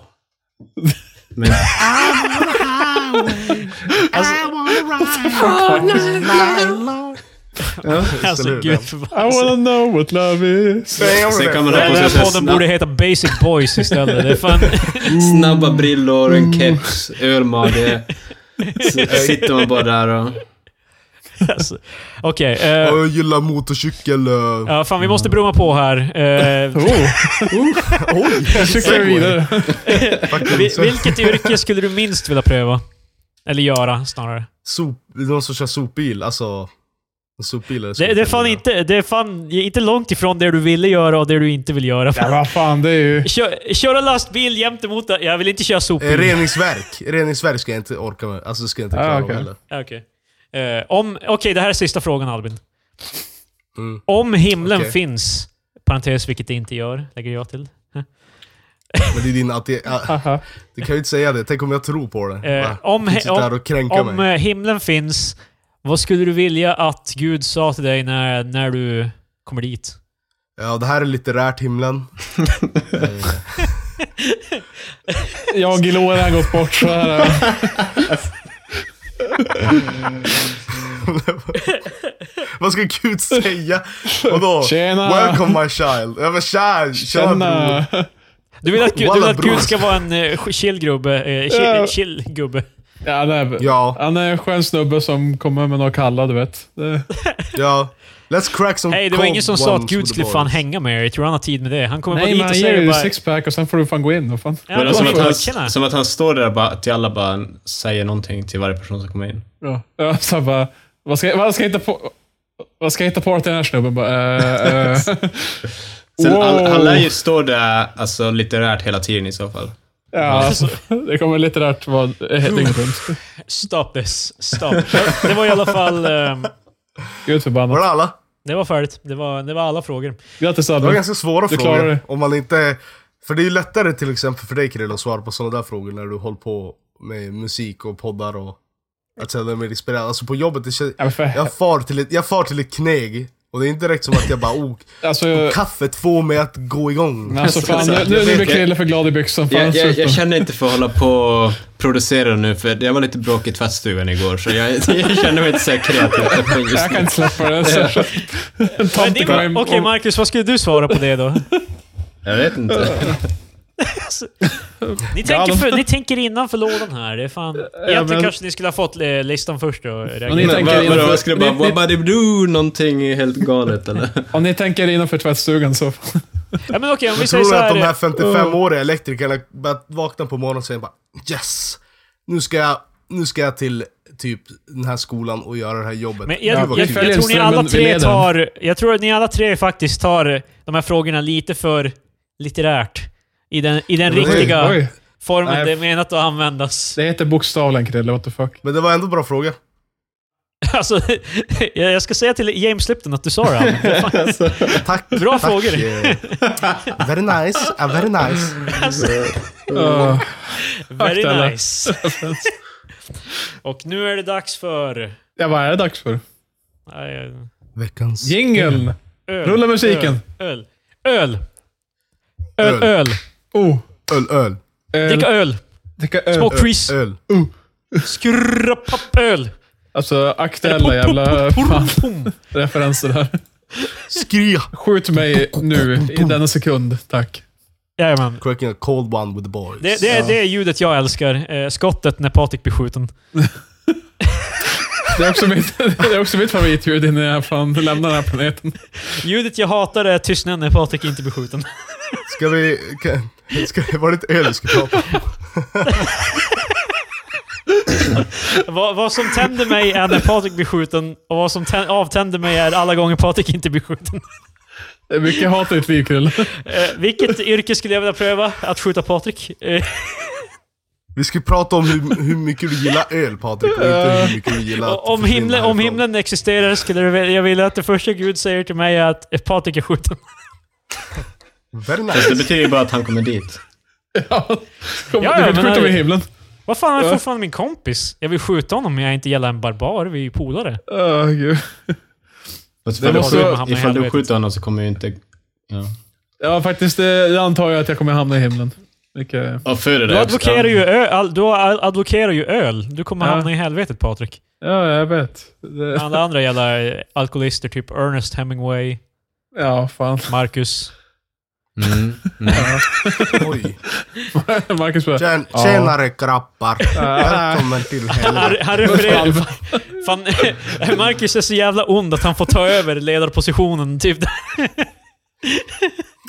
C: Men,
D: alltså
B: Absolut.
D: gud förbannat.
A: I wanna know what love is.
C: sen kan man ha
D: Den
C: på sig
D: här
C: så här
D: podden borde
C: snabb,
D: heta Basic Boys istället. Det är fan...
C: snabba brillor, en keps, ölmage. Så sitter man bara där och...
D: Alltså. Okej. eh,
B: Ja, Jag gillar motorcykel... eh,
D: ja, fan, vi måste brumma på här. Eh,
A: Oh,
B: Oj!
A: jag cyklar
B: segway.
A: vidare.
B: Fucking
D: vi-
B: så-
D: vilket yrke skulle du minst vilja pröva? Eller göra, snarare.
B: Sop, någon som kör sopbil, alltså... En sopbil eller
D: Det, det, är fan inte, det är fan inte långt ifrån det du ville göra och det du inte vill göra.
A: Ja, vad fan, det är ju...
D: Kör, köra lastbil gentemot... Jag vill inte köra
B: Eh,
D: sopbil.
B: Reningsverk. Reningsverk ska jag inte orka med. Alltså det ska jag inte
A: Ah,
B: klara av
A: okej.
B: heller.
D: Ja, Okej, Eh, om okej, det här är sista frågan Albin.
B: Mm.
D: Om himlen
B: Okej.
D: finns, parentes vilket det inte gör, lägger jag till.
B: Men det är din atti- ah,
A: Haha.
B: Du kan ju inte säga det. Tänk om jag tror på det.
D: Eh,
B: Va?
D: om
B: Du kan sitta
D: om-
B: här och kränka
D: Om
B: mig.
D: eh, himlen finns, vad skulle du vilja att Gud sa till dig när, när du kommer dit?
B: Ja, det här är litterärt himlen. Eh,
A: Jag i låren har gått bort så här. eh,
B: Vad ska Gud säga? Vadå?
A: Tjena.
B: Welcome my child. Ja men tja, tjena bror.
A: Tjena!
D: Du vill att, Gud- du vill
B: Walla,
D: att Gud
B: bror.
D: ska vara en eh, chill gubbe? Eh, chill,
A: Ja.
D: chill gubbe.
A: Ja, han är,
B: Ja,
A: han är en skön snubbe som kommer med något kalla, du vet. Det,
B: ja. Let's crack some
D: Hej, det var
B: cold
D: ingen som sa att
B: ones
D: Gud
B: with the
D: skulle fan
B: boys.
D: hänga med er. Jag tror han har tid med det. Han kommer
A: nej,
D: bara
A: men
D: dit och
A: han ger
D: säger
A: dig
D: bara...
A: sixpack och sen får du fan gå in. Vad fan.
D: Ja,
C: Men alltså, som,
D: varför?
C: att
D: Tjena.
C: han, som att han står där bara till alla bara säger någonting till varje person som kommer in.
A: Ja. Ja, så här bara, vad ska, vad ska jag hitta på? Vad ska jag hitta på till den här snubben? Bara, eh, eh.
C: Sen,
A: Wow.
C: han, han lär ju stå där alltså, litterärt hela tiden i så fall.
A: Ja, alltså, det kommer litterärt vara eh, dygnet runt.
D: Stop this. Stop. Det var i alla fall... ehm,
A: Gud
B: Var
A: förbannat.
B: det alla?
D: Det var färdigt. Det var, det var alla frågor.
A: Grattis
B: Det var
A: Albin.
B: ganska svåra
A: Mm. Du klarar
B: frågor.
A: det.
B: Om man inte... För det är ju lättare till exempel för dig Krille att svara på sådana där frågor när du håller på med musik och poddar och att känna dig mer inspirerad. Alltså på jobbet, det känns,
A: Ja, men Alltså, för,
B: jag, far till ett, jag far till ett kneg och det är inte direkt som att jag bara oh,
A: alltså,
B: kaffet får mig att gå igång.
A: men alltså, fan, nu,
C: Jag
A: nu blir
C: vet, jag-
A: Krille för glad i byxan. Fan,
C: Jag, jag,
A: sluta.
C: jag känner inte för att hålla på och producera nu, för jag var lite bråkig i tvättstugan igår, så jag, jag känner mig inte så här kreativ just
A: Jag kan
C: nu.
A: inte släppa det. alltså. Så. En
D: Men
A: Tomte
D: det
A: kom
D: var-
A: hem.
D: Okej, Marcus, vad skulle du svara på det då?
C: Jag vet inte.
D: Ni tänker, för, ni tänker innanför lådan här. Det är fan... Egentligen
A: men-
D: kanske ni skulle ha fått eh, listan först och reagerat.
A: ni-
C: Men
A: tänker
C: vad-
A: inför-
C: Vadå, vad ska du bara...
A: ni- ni-
C: Wabbadibdoo, någonting helt galet eller?
A: Om ni tänker innanför tvättstugan så...
D: Ja, men okej, om vi
B: Jag
D: säger
B: tror
D: så
B: du att
D: här. eh,
B: de här 55-åriga elektrikerna bara vaknar på morgonen och säger bara yes, nu ska jag, nu ska jag till typ den här skolan och göra det här jobbet.
D: Men
B: Gud,
D: jag,
B: vad
D: jag, jag,
B: kul.
A: följer
D: tror ni alla
A: strömmen, vi
D: tre
A: leder.
D: tar... Jag tror att ni alla tre faktiskt tar de här frågorna lite för litterärt. I den, i den
B: men det-
D: riktiga
A: Oj,
D: formen
A: Nej.
D: det är menat att användas.
A: det heter bokstavligen Krille, what the fuck.
B: Men det var ändå bra fråga.
D: Alltså, jag jag ska säga till James Lipton att du sa det här. Det är fan-
B: Tack.
D: Bra
B: tack.
D: frågor.
B: eh. Very nice, ah, very nice.
A: Uh,
D: Very
A: Akta alla.
D: nice. Och nu är det dags för...
A: Ja, vad är det dags för?
D: Nej, eh,
B: Veckans...
A: Jingeln!
D: Öl.
A: Rulla musiken.
D: Öl. Öl. Öl. Öl.
B: Öl.
D: öl.
A: Oh! Eh,
B: Öl, öl,
D: Dricka
A: Öl.
D: öl.
A: Dricka öl.
D: Smak Chris.
B: öl.
D: Skrrra pappöl.
A: Alltså, aktuella jävla fan, referenser här.
B: Skria!
A: Skjut mig nu, i denna sekund. Tack.
D: Jajamän.
B: Cracking a cold one with the boys.
D: Det, det, är, det är ljudet jag älskar. Eh, skottet när Patrik blir skjuten.
A: Det är också mitt, det är också mitt favoritljud innan jag fan lämnar den här planeten.
D: Ljudet jag hatar är tystnaden när Patrik inte blir skjuten.
B: Ska vi... Kan, ska, var det inte öl vi skulle prata om?
D: vad, vad som tänder mig är när Patrik blir skjuten och vad som tän- avtänder mig är alla gånger Patrik inte blir skjuten.
A: Det är mycket hat i ditt liv, Krille.
D: Eh, vilket yrke skulle jag vilja pröva? Att skjuta Patrik? Eh,
B: Vi skulle prata om hur, hur mycket du gillar öl Patrik, och inte hur mycket du gillar att
D: om,
B: försvinna
D: himlen, om
B: härifrån.
D: himlen existerar skulle jag vilja- jag vilja att det första Gud säger till mig är att eh, Patrik är skjuten.
B: Very
C: Fast det
B: nice.
C: betyder ju bara att han kommer dit.
A: Ja, kom,
D: Ja,
A: du
D: ja,
A: vill
D: men
A: skjuta
D: här-
A: mig i himlen.
D: Vad fan, han är
A: Ja.
D: fortfarande min kompis. Jag vill skjuta honom, men jag är inte gälla en barbar. Vi är ju polare.
A: Åh, gud.
C: Fast
A: Det
C: ifall,
A: måste
C: du,
A: vara-
D: hamna i
C: ifall du
D: helvetet.
C: skjuter honom så kommer ju inte... Ja.
A: Ja, faktiskt. Det, jag antar jag att jag kommer hamna i himlen. Vilket,
C: Ja, för det
D: Du
C: där.
D: advokerar ju öl. all- Du ad- advokerar ju öl. Du kommer
A: Ja.
D: hamna i helvetet, Patrik.
A: ja, jag vet. Det,
D: Alla andra jävla eh, alkoholister, typ Ernest Hemingway,
A: ja, fan.
D: Marcus.
C: Mm.
B: Oj.
A: Marcus bara...
B: Tjen, tjenare grappar. Välkommen till
C: Mm.
B: helvete.
D: Han, han refererar... Fan, fan, Marcus är så jävla ond att han får ta över ledarpositionen. Typ.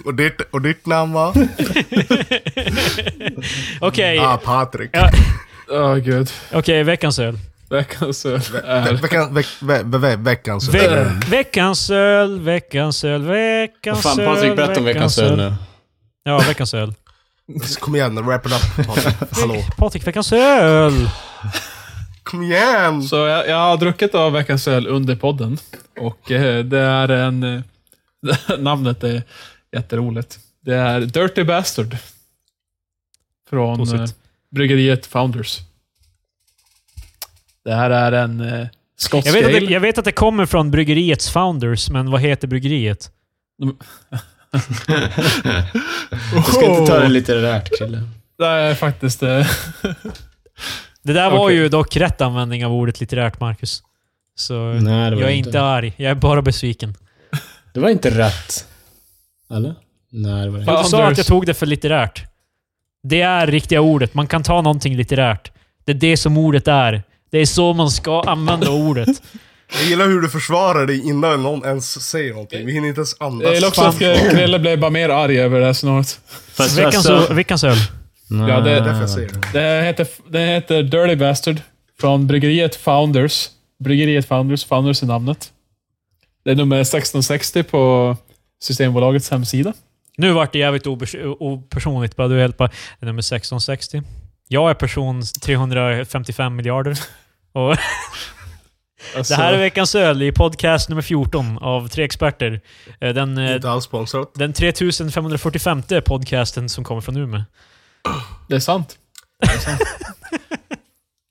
B: Och ditt, och ditt namn var?
D: Okej,
B: Ah, Patrik.
D: Ja.
A: Åh, gud.
D: okej, veckans öl.
A: Veckans öl
B: Ve-
A: är...
B: Veckan, veck, ve, ve, ve, veckans
D: Ve
B: öl.
D: Veckans öl, veckans öl,
C: Mm. Vad
D: veckans
C: fan,
D: öl.
C: Patrik, berätta om veckans öl nu.
D: Ja, veckans öl.
B: Kom igen, wrap it up Patrik. Hallå.
D: Patrik, veckans öl!
B: Kom igen!
A: Så jag, jag har druckit av veckans öl under podden. Och eh, det är en... eh, namnet är jätteroligt. Det är Dirty Bastard. Från
D: Prosit.
A: eh, bryggeriet Founders. Det här är en eh, skotsk
D: Jag vet, att det,
A: ale.
D: jag vet att det kommer från bryggeriets founders, men vad heter bryggeriet?
C: Du ska inte ta det litterärt, Krille.
A: Det är faktiskt... eh,
D: Det där var
A: Okej.
D: ju dock rätt användning av ordet litterärt, Marcus. Så
C: Nej, det var
D: jag är
C: inte.
D: inte arg. Jag är bara besviken.
C: Det var inte rätt. Eller? Nej, det var det inte.
A: Ja.
D: Du sa
A: Anders.
D: att jag tog det för litterärt. Det är riktiga ordet. Man kan ta någonting litterärt. Det är det som ordet är. Det är så man ska använda ordet.
B: Jag gillar hur du försvarar dig innan någon ens säger någonting. Vi hinner inte ens
A: Jag gillar
B: andas.
A: också att Krille blev bara mer arg över det här snart.
C: Fast
D: Veckans,
C: alltså-
D: öl- veckans öl.
C: Nej.
A: Ja, det är
B: Därför jag säger det.
A: Det heter, det heter Dirty Bastard från bryggeriet Founders. Bryggeriet Founders, Founders är namnet. Det är nummer 1660 på Systembolagets hemsida.
D: Nu vart det jävligt obers- opersonligt. Bara du hjälpa. Det är nummer 1660. Jag är person 355 miljarder. Och
A: Alltså,
D: det här är veckans öl i podcast nummer 14 av tre experter. Eh, Den, eh,
B: Inte alls sponsrat.
D: den 3545 podcasten som kommer från Umeå.
A: det är sant. Det är sant.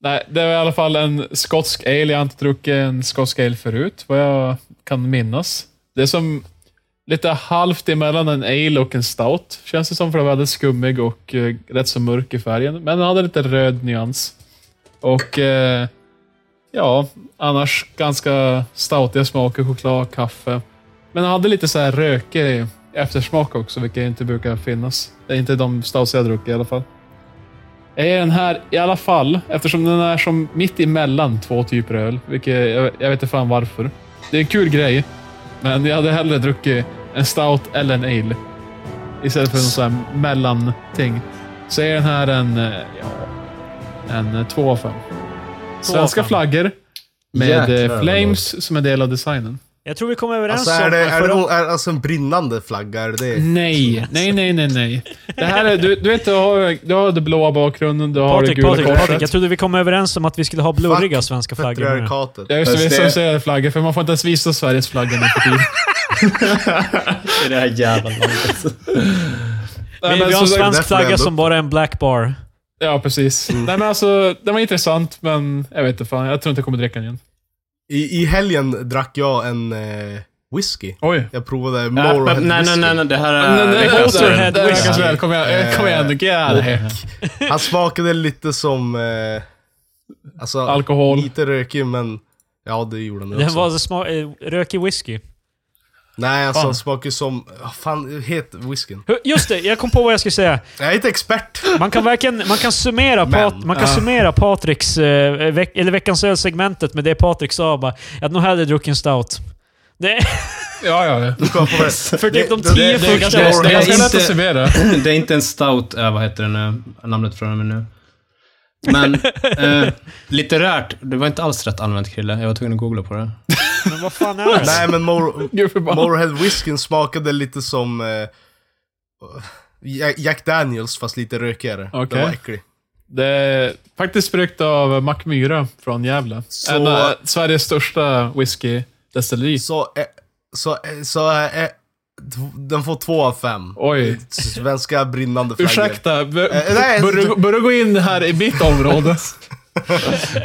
A: Nej, det är i alla fall en skotsk ale. Jag har inte druckit en skotsk ale förut, vad jag kan minnas. Det är som lite halvt emellan en ale och en stout. Känns det som, för den var väldigt skummig och eh, rätt så mörk i färgen. Men den hade lite röd nyans. Och eh, ja, annars ganska stoutiga smaker. Choklad, kaffe. Men den hade lite så här rökig eftersmak också, vilket inte brukar finnas. Det är inte de stouts jag har druckit i alla fall. Jag ger den här i alla fall, eftersom den är som mitt emellan två typer öl. Vilket jag, jag vet inte fan varför. Det är en kul grej, men jag hade hellre druckit en stout eller en ale. Istället för en sån här mellanting. Så jag ger den här en... eh, Ja, en 2 av 5. Svenska
D: fem.
A: flaggor med eh,
C: Jäklar vad
A: flames som en del av designen.
D: Jag tror vi kom överens
B: Alltså är
D: om...
B: det, är det
D: förra-
B: någon, är, alltså en brinnande flagga? Är
A: Mm.
B: det
A: Nej, nej, nej, nej, nej. Det här är, du, du vet, du har, du har den blåa bakgrunden, du har det
D: Patrik,
A: gula
D: Patrik,
A: korset.
D: Patrik. Jag trodde vi kom överens om att vi skulle ha blurriga
B: Fuck
D: svenska
B: det?
D: flaggor. nu.
B: Patriarkatet.
A: Ja, just det. Vi
C: Fast det-
A: censurerar flaggor, för man får inte ens visa Sveriges flagga nu för tiden.
C: I det här jävla landet.
A: Nej,
D: Vi,
A: men
D: vi har
A: som
D: en
A: sagt-
D: svensk
B: därför jag
D: flagga
B: ändå-
D: som bara är en black bar.
A: alltså, Ja, precis. Nej, men alltså, den var intressant, men jag vet inte fan. Jag tror inte jag kommer dricka den igen.
B: I, I helgen drack jag en eh, whisky.
A: Oj.
B: Jag provade
C: Nej,
B: Morehead
C: Ah, men- nej, nej,
B: whisky.
C: nej, nej, det här
A: Nej,
C: är...
A: nej,
C: veckans
A: hold your
C: öl.
A: head,
D: Motorhead
A: det var
D: Eh, whisky.
A: kanske väl. Kom igen, eh, kom igen. du gäll.
B: Han smakade lite som... Eh, alltså,
A: Alkohol.
B: Lite rökig, men... Ja, det gjorde han
D: Den
B: också.
D: var så sma- eh, rökig whisky.
B: Nej, alltså
A: Fan.
B: han smakar ju som... ah, Fan, het whiskyn.
D: Hur- Just det, jag kom på vad jag skulle säga.
B: Jag är inte expert.
D: Man kan verkligen man kan summera,
B: Men, ah.
D: Pat, man kan summera Patriks, eh, veck, eller veckans ölsegmentet med det Patrik sa bara. Jag hade nog hellre druckit en stout. Det,
A: Ja, ja. ja.
B: Du kom på det.
D: för typ de
B: det- det-
D: tio
B: det är
D: första...
B: ganska-
A: Det är ganska
C: inte-
A: lätt att summera.
C: det är inte en stout, eh, vad heter den nu? Namnet från mig nu. Men eh, litterärt, det var inte alls rätt använt Krille. Jag var tvungen att googla på det.
D: Men vad fan är det?
B: Nej, men More,
A: Gud förbannat.
B: Morehead whiskyn smakade lite som... Eh, Ja- Jack Daniels, fast lite rökigare.
A: Okej.
B: Den var äcklig.
A: Det är faktiskt bryggt av Mac Myra från Gävle.
B: Så-
A: En av Sveriges största whiskydestilleri.
B: Så... Eh, så... Eh, så eh, eh, tv- den får två av fem.
A: Oj.
B: Svenska brinnande flaggor.
A: Ursäkta, bör-
B: Eh, nej,
C: alltså,
A: börja- börja gå in här i mitt område.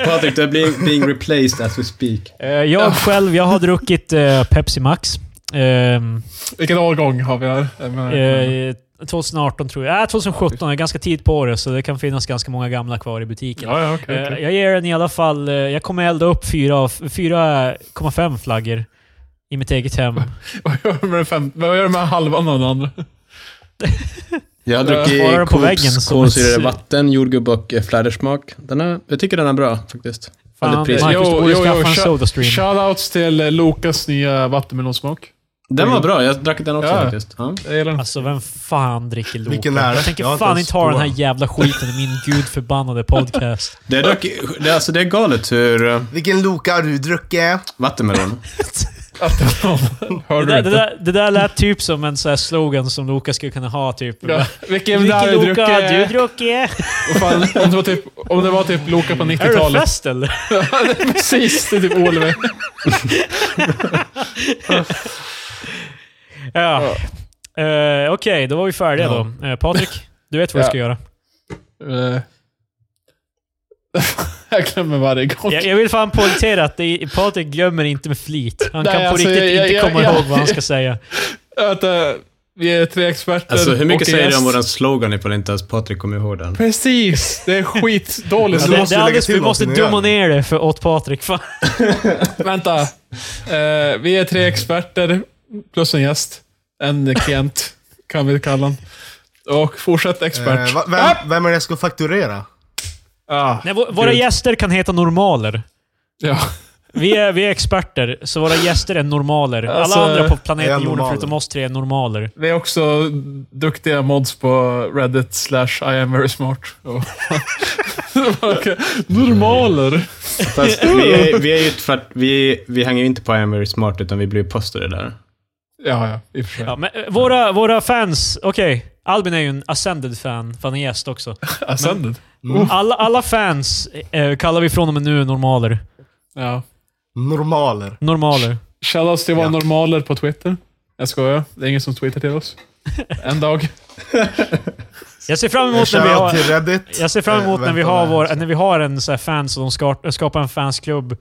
C: Patrik, du är being, being replaced as we speak.
D: Eh, Jag själv, jag har druckit eh, Pepsi Max. Ehm,
A: Vilken årgång har vi här? Jag menar-
D: eh, 2018 tror jag. Äh, 2017. Jag är ganska tid på året, så det kan finnas ganska många gamla kvar i butiken.
A: Ja, ja, okej.
D: Eh,
A: okej.
D: Jag ger den i alla fall... eh, Jag kommer elda upp fyra av- 4,5 flaggor i mitt eget hem.
A: Vad gör du med den fem- Vad gör du med halvan av den andra?
C: Jag har
A: Jag
D: sparar den
C: druckit
D: på väggen
C: Coops
D: som
C: kolsyrade
D: ett-
C: vatten, jordgubb och eh, flädersmak. Den är, jag tycker den är bra faktiskt.
D: Fan,
C: Väldigt prisvärd.
D: Marcus, du
A: Jo,
D: borde
A: jo,
D: skaffa
A: jo,
D: en
A: kör-
D: Sodastream.
A: Shoutouts till eh, Lokas nya vattenmelonsmak.
C: Den var bra, jag drack den också
A: Ja.
C: faktiskt. Ja.
A: Jag gillar den.
D: Alltså vem fan dricker Loka?
B: Vilken är det?
D: Jag tänker
B: Jag har inte
D: fan
B: ens
D: inte ha den här
B: provat.
D: jävla skiten i min gudförbannade podcast.
C: Det är dock, det, är- alltså det är galet hur... eh,
B: Vilken Loka har du druckit? Eh,
C: Vattenmelon.
D: Det
A: Hörde du
D: där, det,
A: inte?
D: där, det där lät typ som en sån här slogan som Loka skulle kunna ha typ.
A: Ja, vilken
D: Vilken
A: där
D: Loka har du
A: druckit? eh,
D: druckit?
A: Vad fan, Om det var typ, om det var typ Loka på
D: Är det
A: 90-talet.
D: fest eller?
A: Precis, det är typ Oliver.
D: Ja. Eh, Okej, då var vi färdiga
B: Ja.
D: då. Eh, Patrik, du vet vad vi
A: Ja.
D: ska göra.
A: Eh. jag glömmer varje gång.
D: Jag, jag vill fan poängtera att det är, Patrik glömmer inte med flit. Han
A: Nej,
D: kan på
A: alltså,
D: riktigt
A: jag- jag-
D: inte
A: jag-
D: komma
A: jag-
D: ihåg vad han ska säga.
B: Alltså,
A: Vänta, eh, vi är tre experter
C: Alltså hur mycket
A: och en
C: säger du
A: gäst.
C: om våran slogan ifall inte ens Patrik kommer ihåg den?
A: Precis! Det är skitdåligt.
D: Ja,
B: Så
D: det, det
B: måste
D: är
B: vi lägga
D: alldeles,
B: till
D: vi måste
B: någonting
D: dumma
B: igen.
D: ner det för, åt Patrik. Fan.
A: Vänta. Eh, vi är tre experter plus en gäst. En klient, kan vi kalla honom. Och fortsätt expert.
B: Eh, va- vem, vem är det jag ska fakturera?
A: ah,
D: Nej, vå- våra
A: Gud.
D: gäster kan heta normaler.
A: ja.
D: Vi är, vi är experter, så våra gäster är normaler.
A: Alltså,
D: Alla andra på
B: är
D: planeten jorden
B: normaler.
D: förutom oss tre är normaler.
A: Vi är också duktiga mods på Reddit slash I am very smart. Och- Okej. Normaler.
C: Fast vi är, vi är ju tvärt, vi, vi hänger ju inte på I am very smart utan vi blir postade där.
A: Ja, ja. I och för sig.
D: Ja, men, eh, våra, våra fans, okej. Albin är ju en ascended fan, för han är gäst också.
A: Ascended.
B: Mm.
D: Alla, alla fans eh, kallar vi från och med nu normaler.
A: Ja.
B: Normaler.
D: Normaler.
A: Shoutouts till våra
B: Ja.
A: normaler på Twitter. Jag skojar. Det är ingen som twittrar till oss. En dag.
D: Jag ser fram emot när vi
B: Shoutout
D: har...
B: till Reddit.
D: Jag ser fram emot
B: Eh,
D: när vi
B: vänta
D: har,
B: där.
D: vår, när vi har en så här fans och de ska- skapar en fansklubb.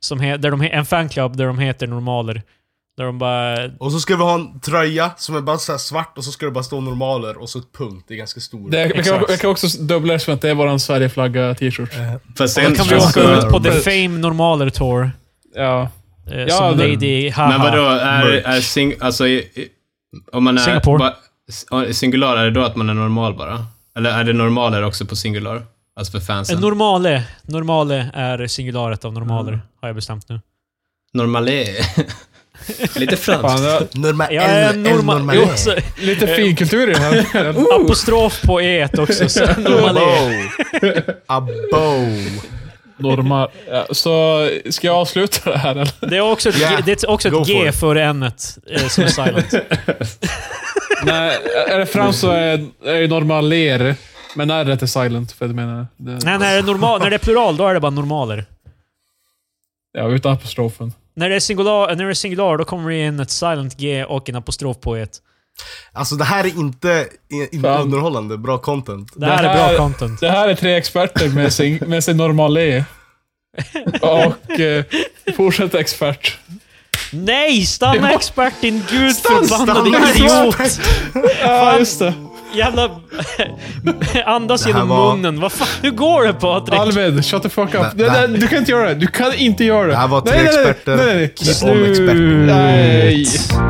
D: Som he, där de, he- en fanclub där de heter normaler. Där de bara...
B: Och så ska vi ha en tröja som är bara så här svart och så ska det bara stå normaler och så ett punkt. Det är ganska stort.
A: Det, vi, kan,
D: Exakt.
A: vi kan också dubbla det som att det är våran Sverigeflagga-t-shirt.
C: Fast
D: Då kan vi
B: känns
D: åka
B: det-
D: ut på The Fame Normaler Tour.
A: Ja.
D: Eh,
A: Ja,
D: som
A: det-
D: Lady Haha.
C: Men vadå, är,
B: Merch.
C: är sing, alltså, i- i- om man är...
D: Singapore.
C: Ba, s- singular, är det då att man är normal bara? Eller är det normaler också på singular? Alltså för
D: En
C: fansen?
D: Eh, normale. Normale är singularet av normaler, har jag bestämt nu.
C: Normalé. Lite
A: Fan,
C: franskt.
A: jag,
B: Norma-
D: Jag är
B: en- en
D: normal...
B: normal-
D: Jo, så,
A: lite finkultur i det här.
D: apostrof på e också. Så normale.
B: Abo. Abo.
A: Normal. Ja, så ska jag avsluta det här eller?
D: Det är också ett,
B: Yeah,
D: G- det är också
B: go
D: ett
B: for
D: G
B: it.
D: före n-et eh, som är silent.
A: Nej, är det fram så är är det normaler. Men r är silent, för jag menar... Det,
D: Nej, när det, är normal, när det är plural, då är det bara normaler.
A: Ja, utan apostrofen.
D: När det är singular, när det är singular då kommer det in ett silent G och en apostrof på e
B: Alltså det här är inte i- inte
A: Fan.
B: underhållande bra content.
D: Det här är bra content.
A: Det här är tre experter med sin, med sin normala E. Och eh, fortsätt expert.
D: Nej! Stanna expert din gud förbannade
B: Stanna
D: idiot!
A: Ja, just det.
D: Jävla... Andas
B: Det här
D: genom
B: var-
D: munnen. Vad fan, hur går det Patrik?
A: Alvin, shut the fuck up.
B: Det- det-
A: Nej, nej, du kan inte göra det. Du kan inte göra det.
B: Det här var tre
A: nej, nej, nej, Nej, nej,
B: experter
A: nej.
B: om experter.
A: Nej.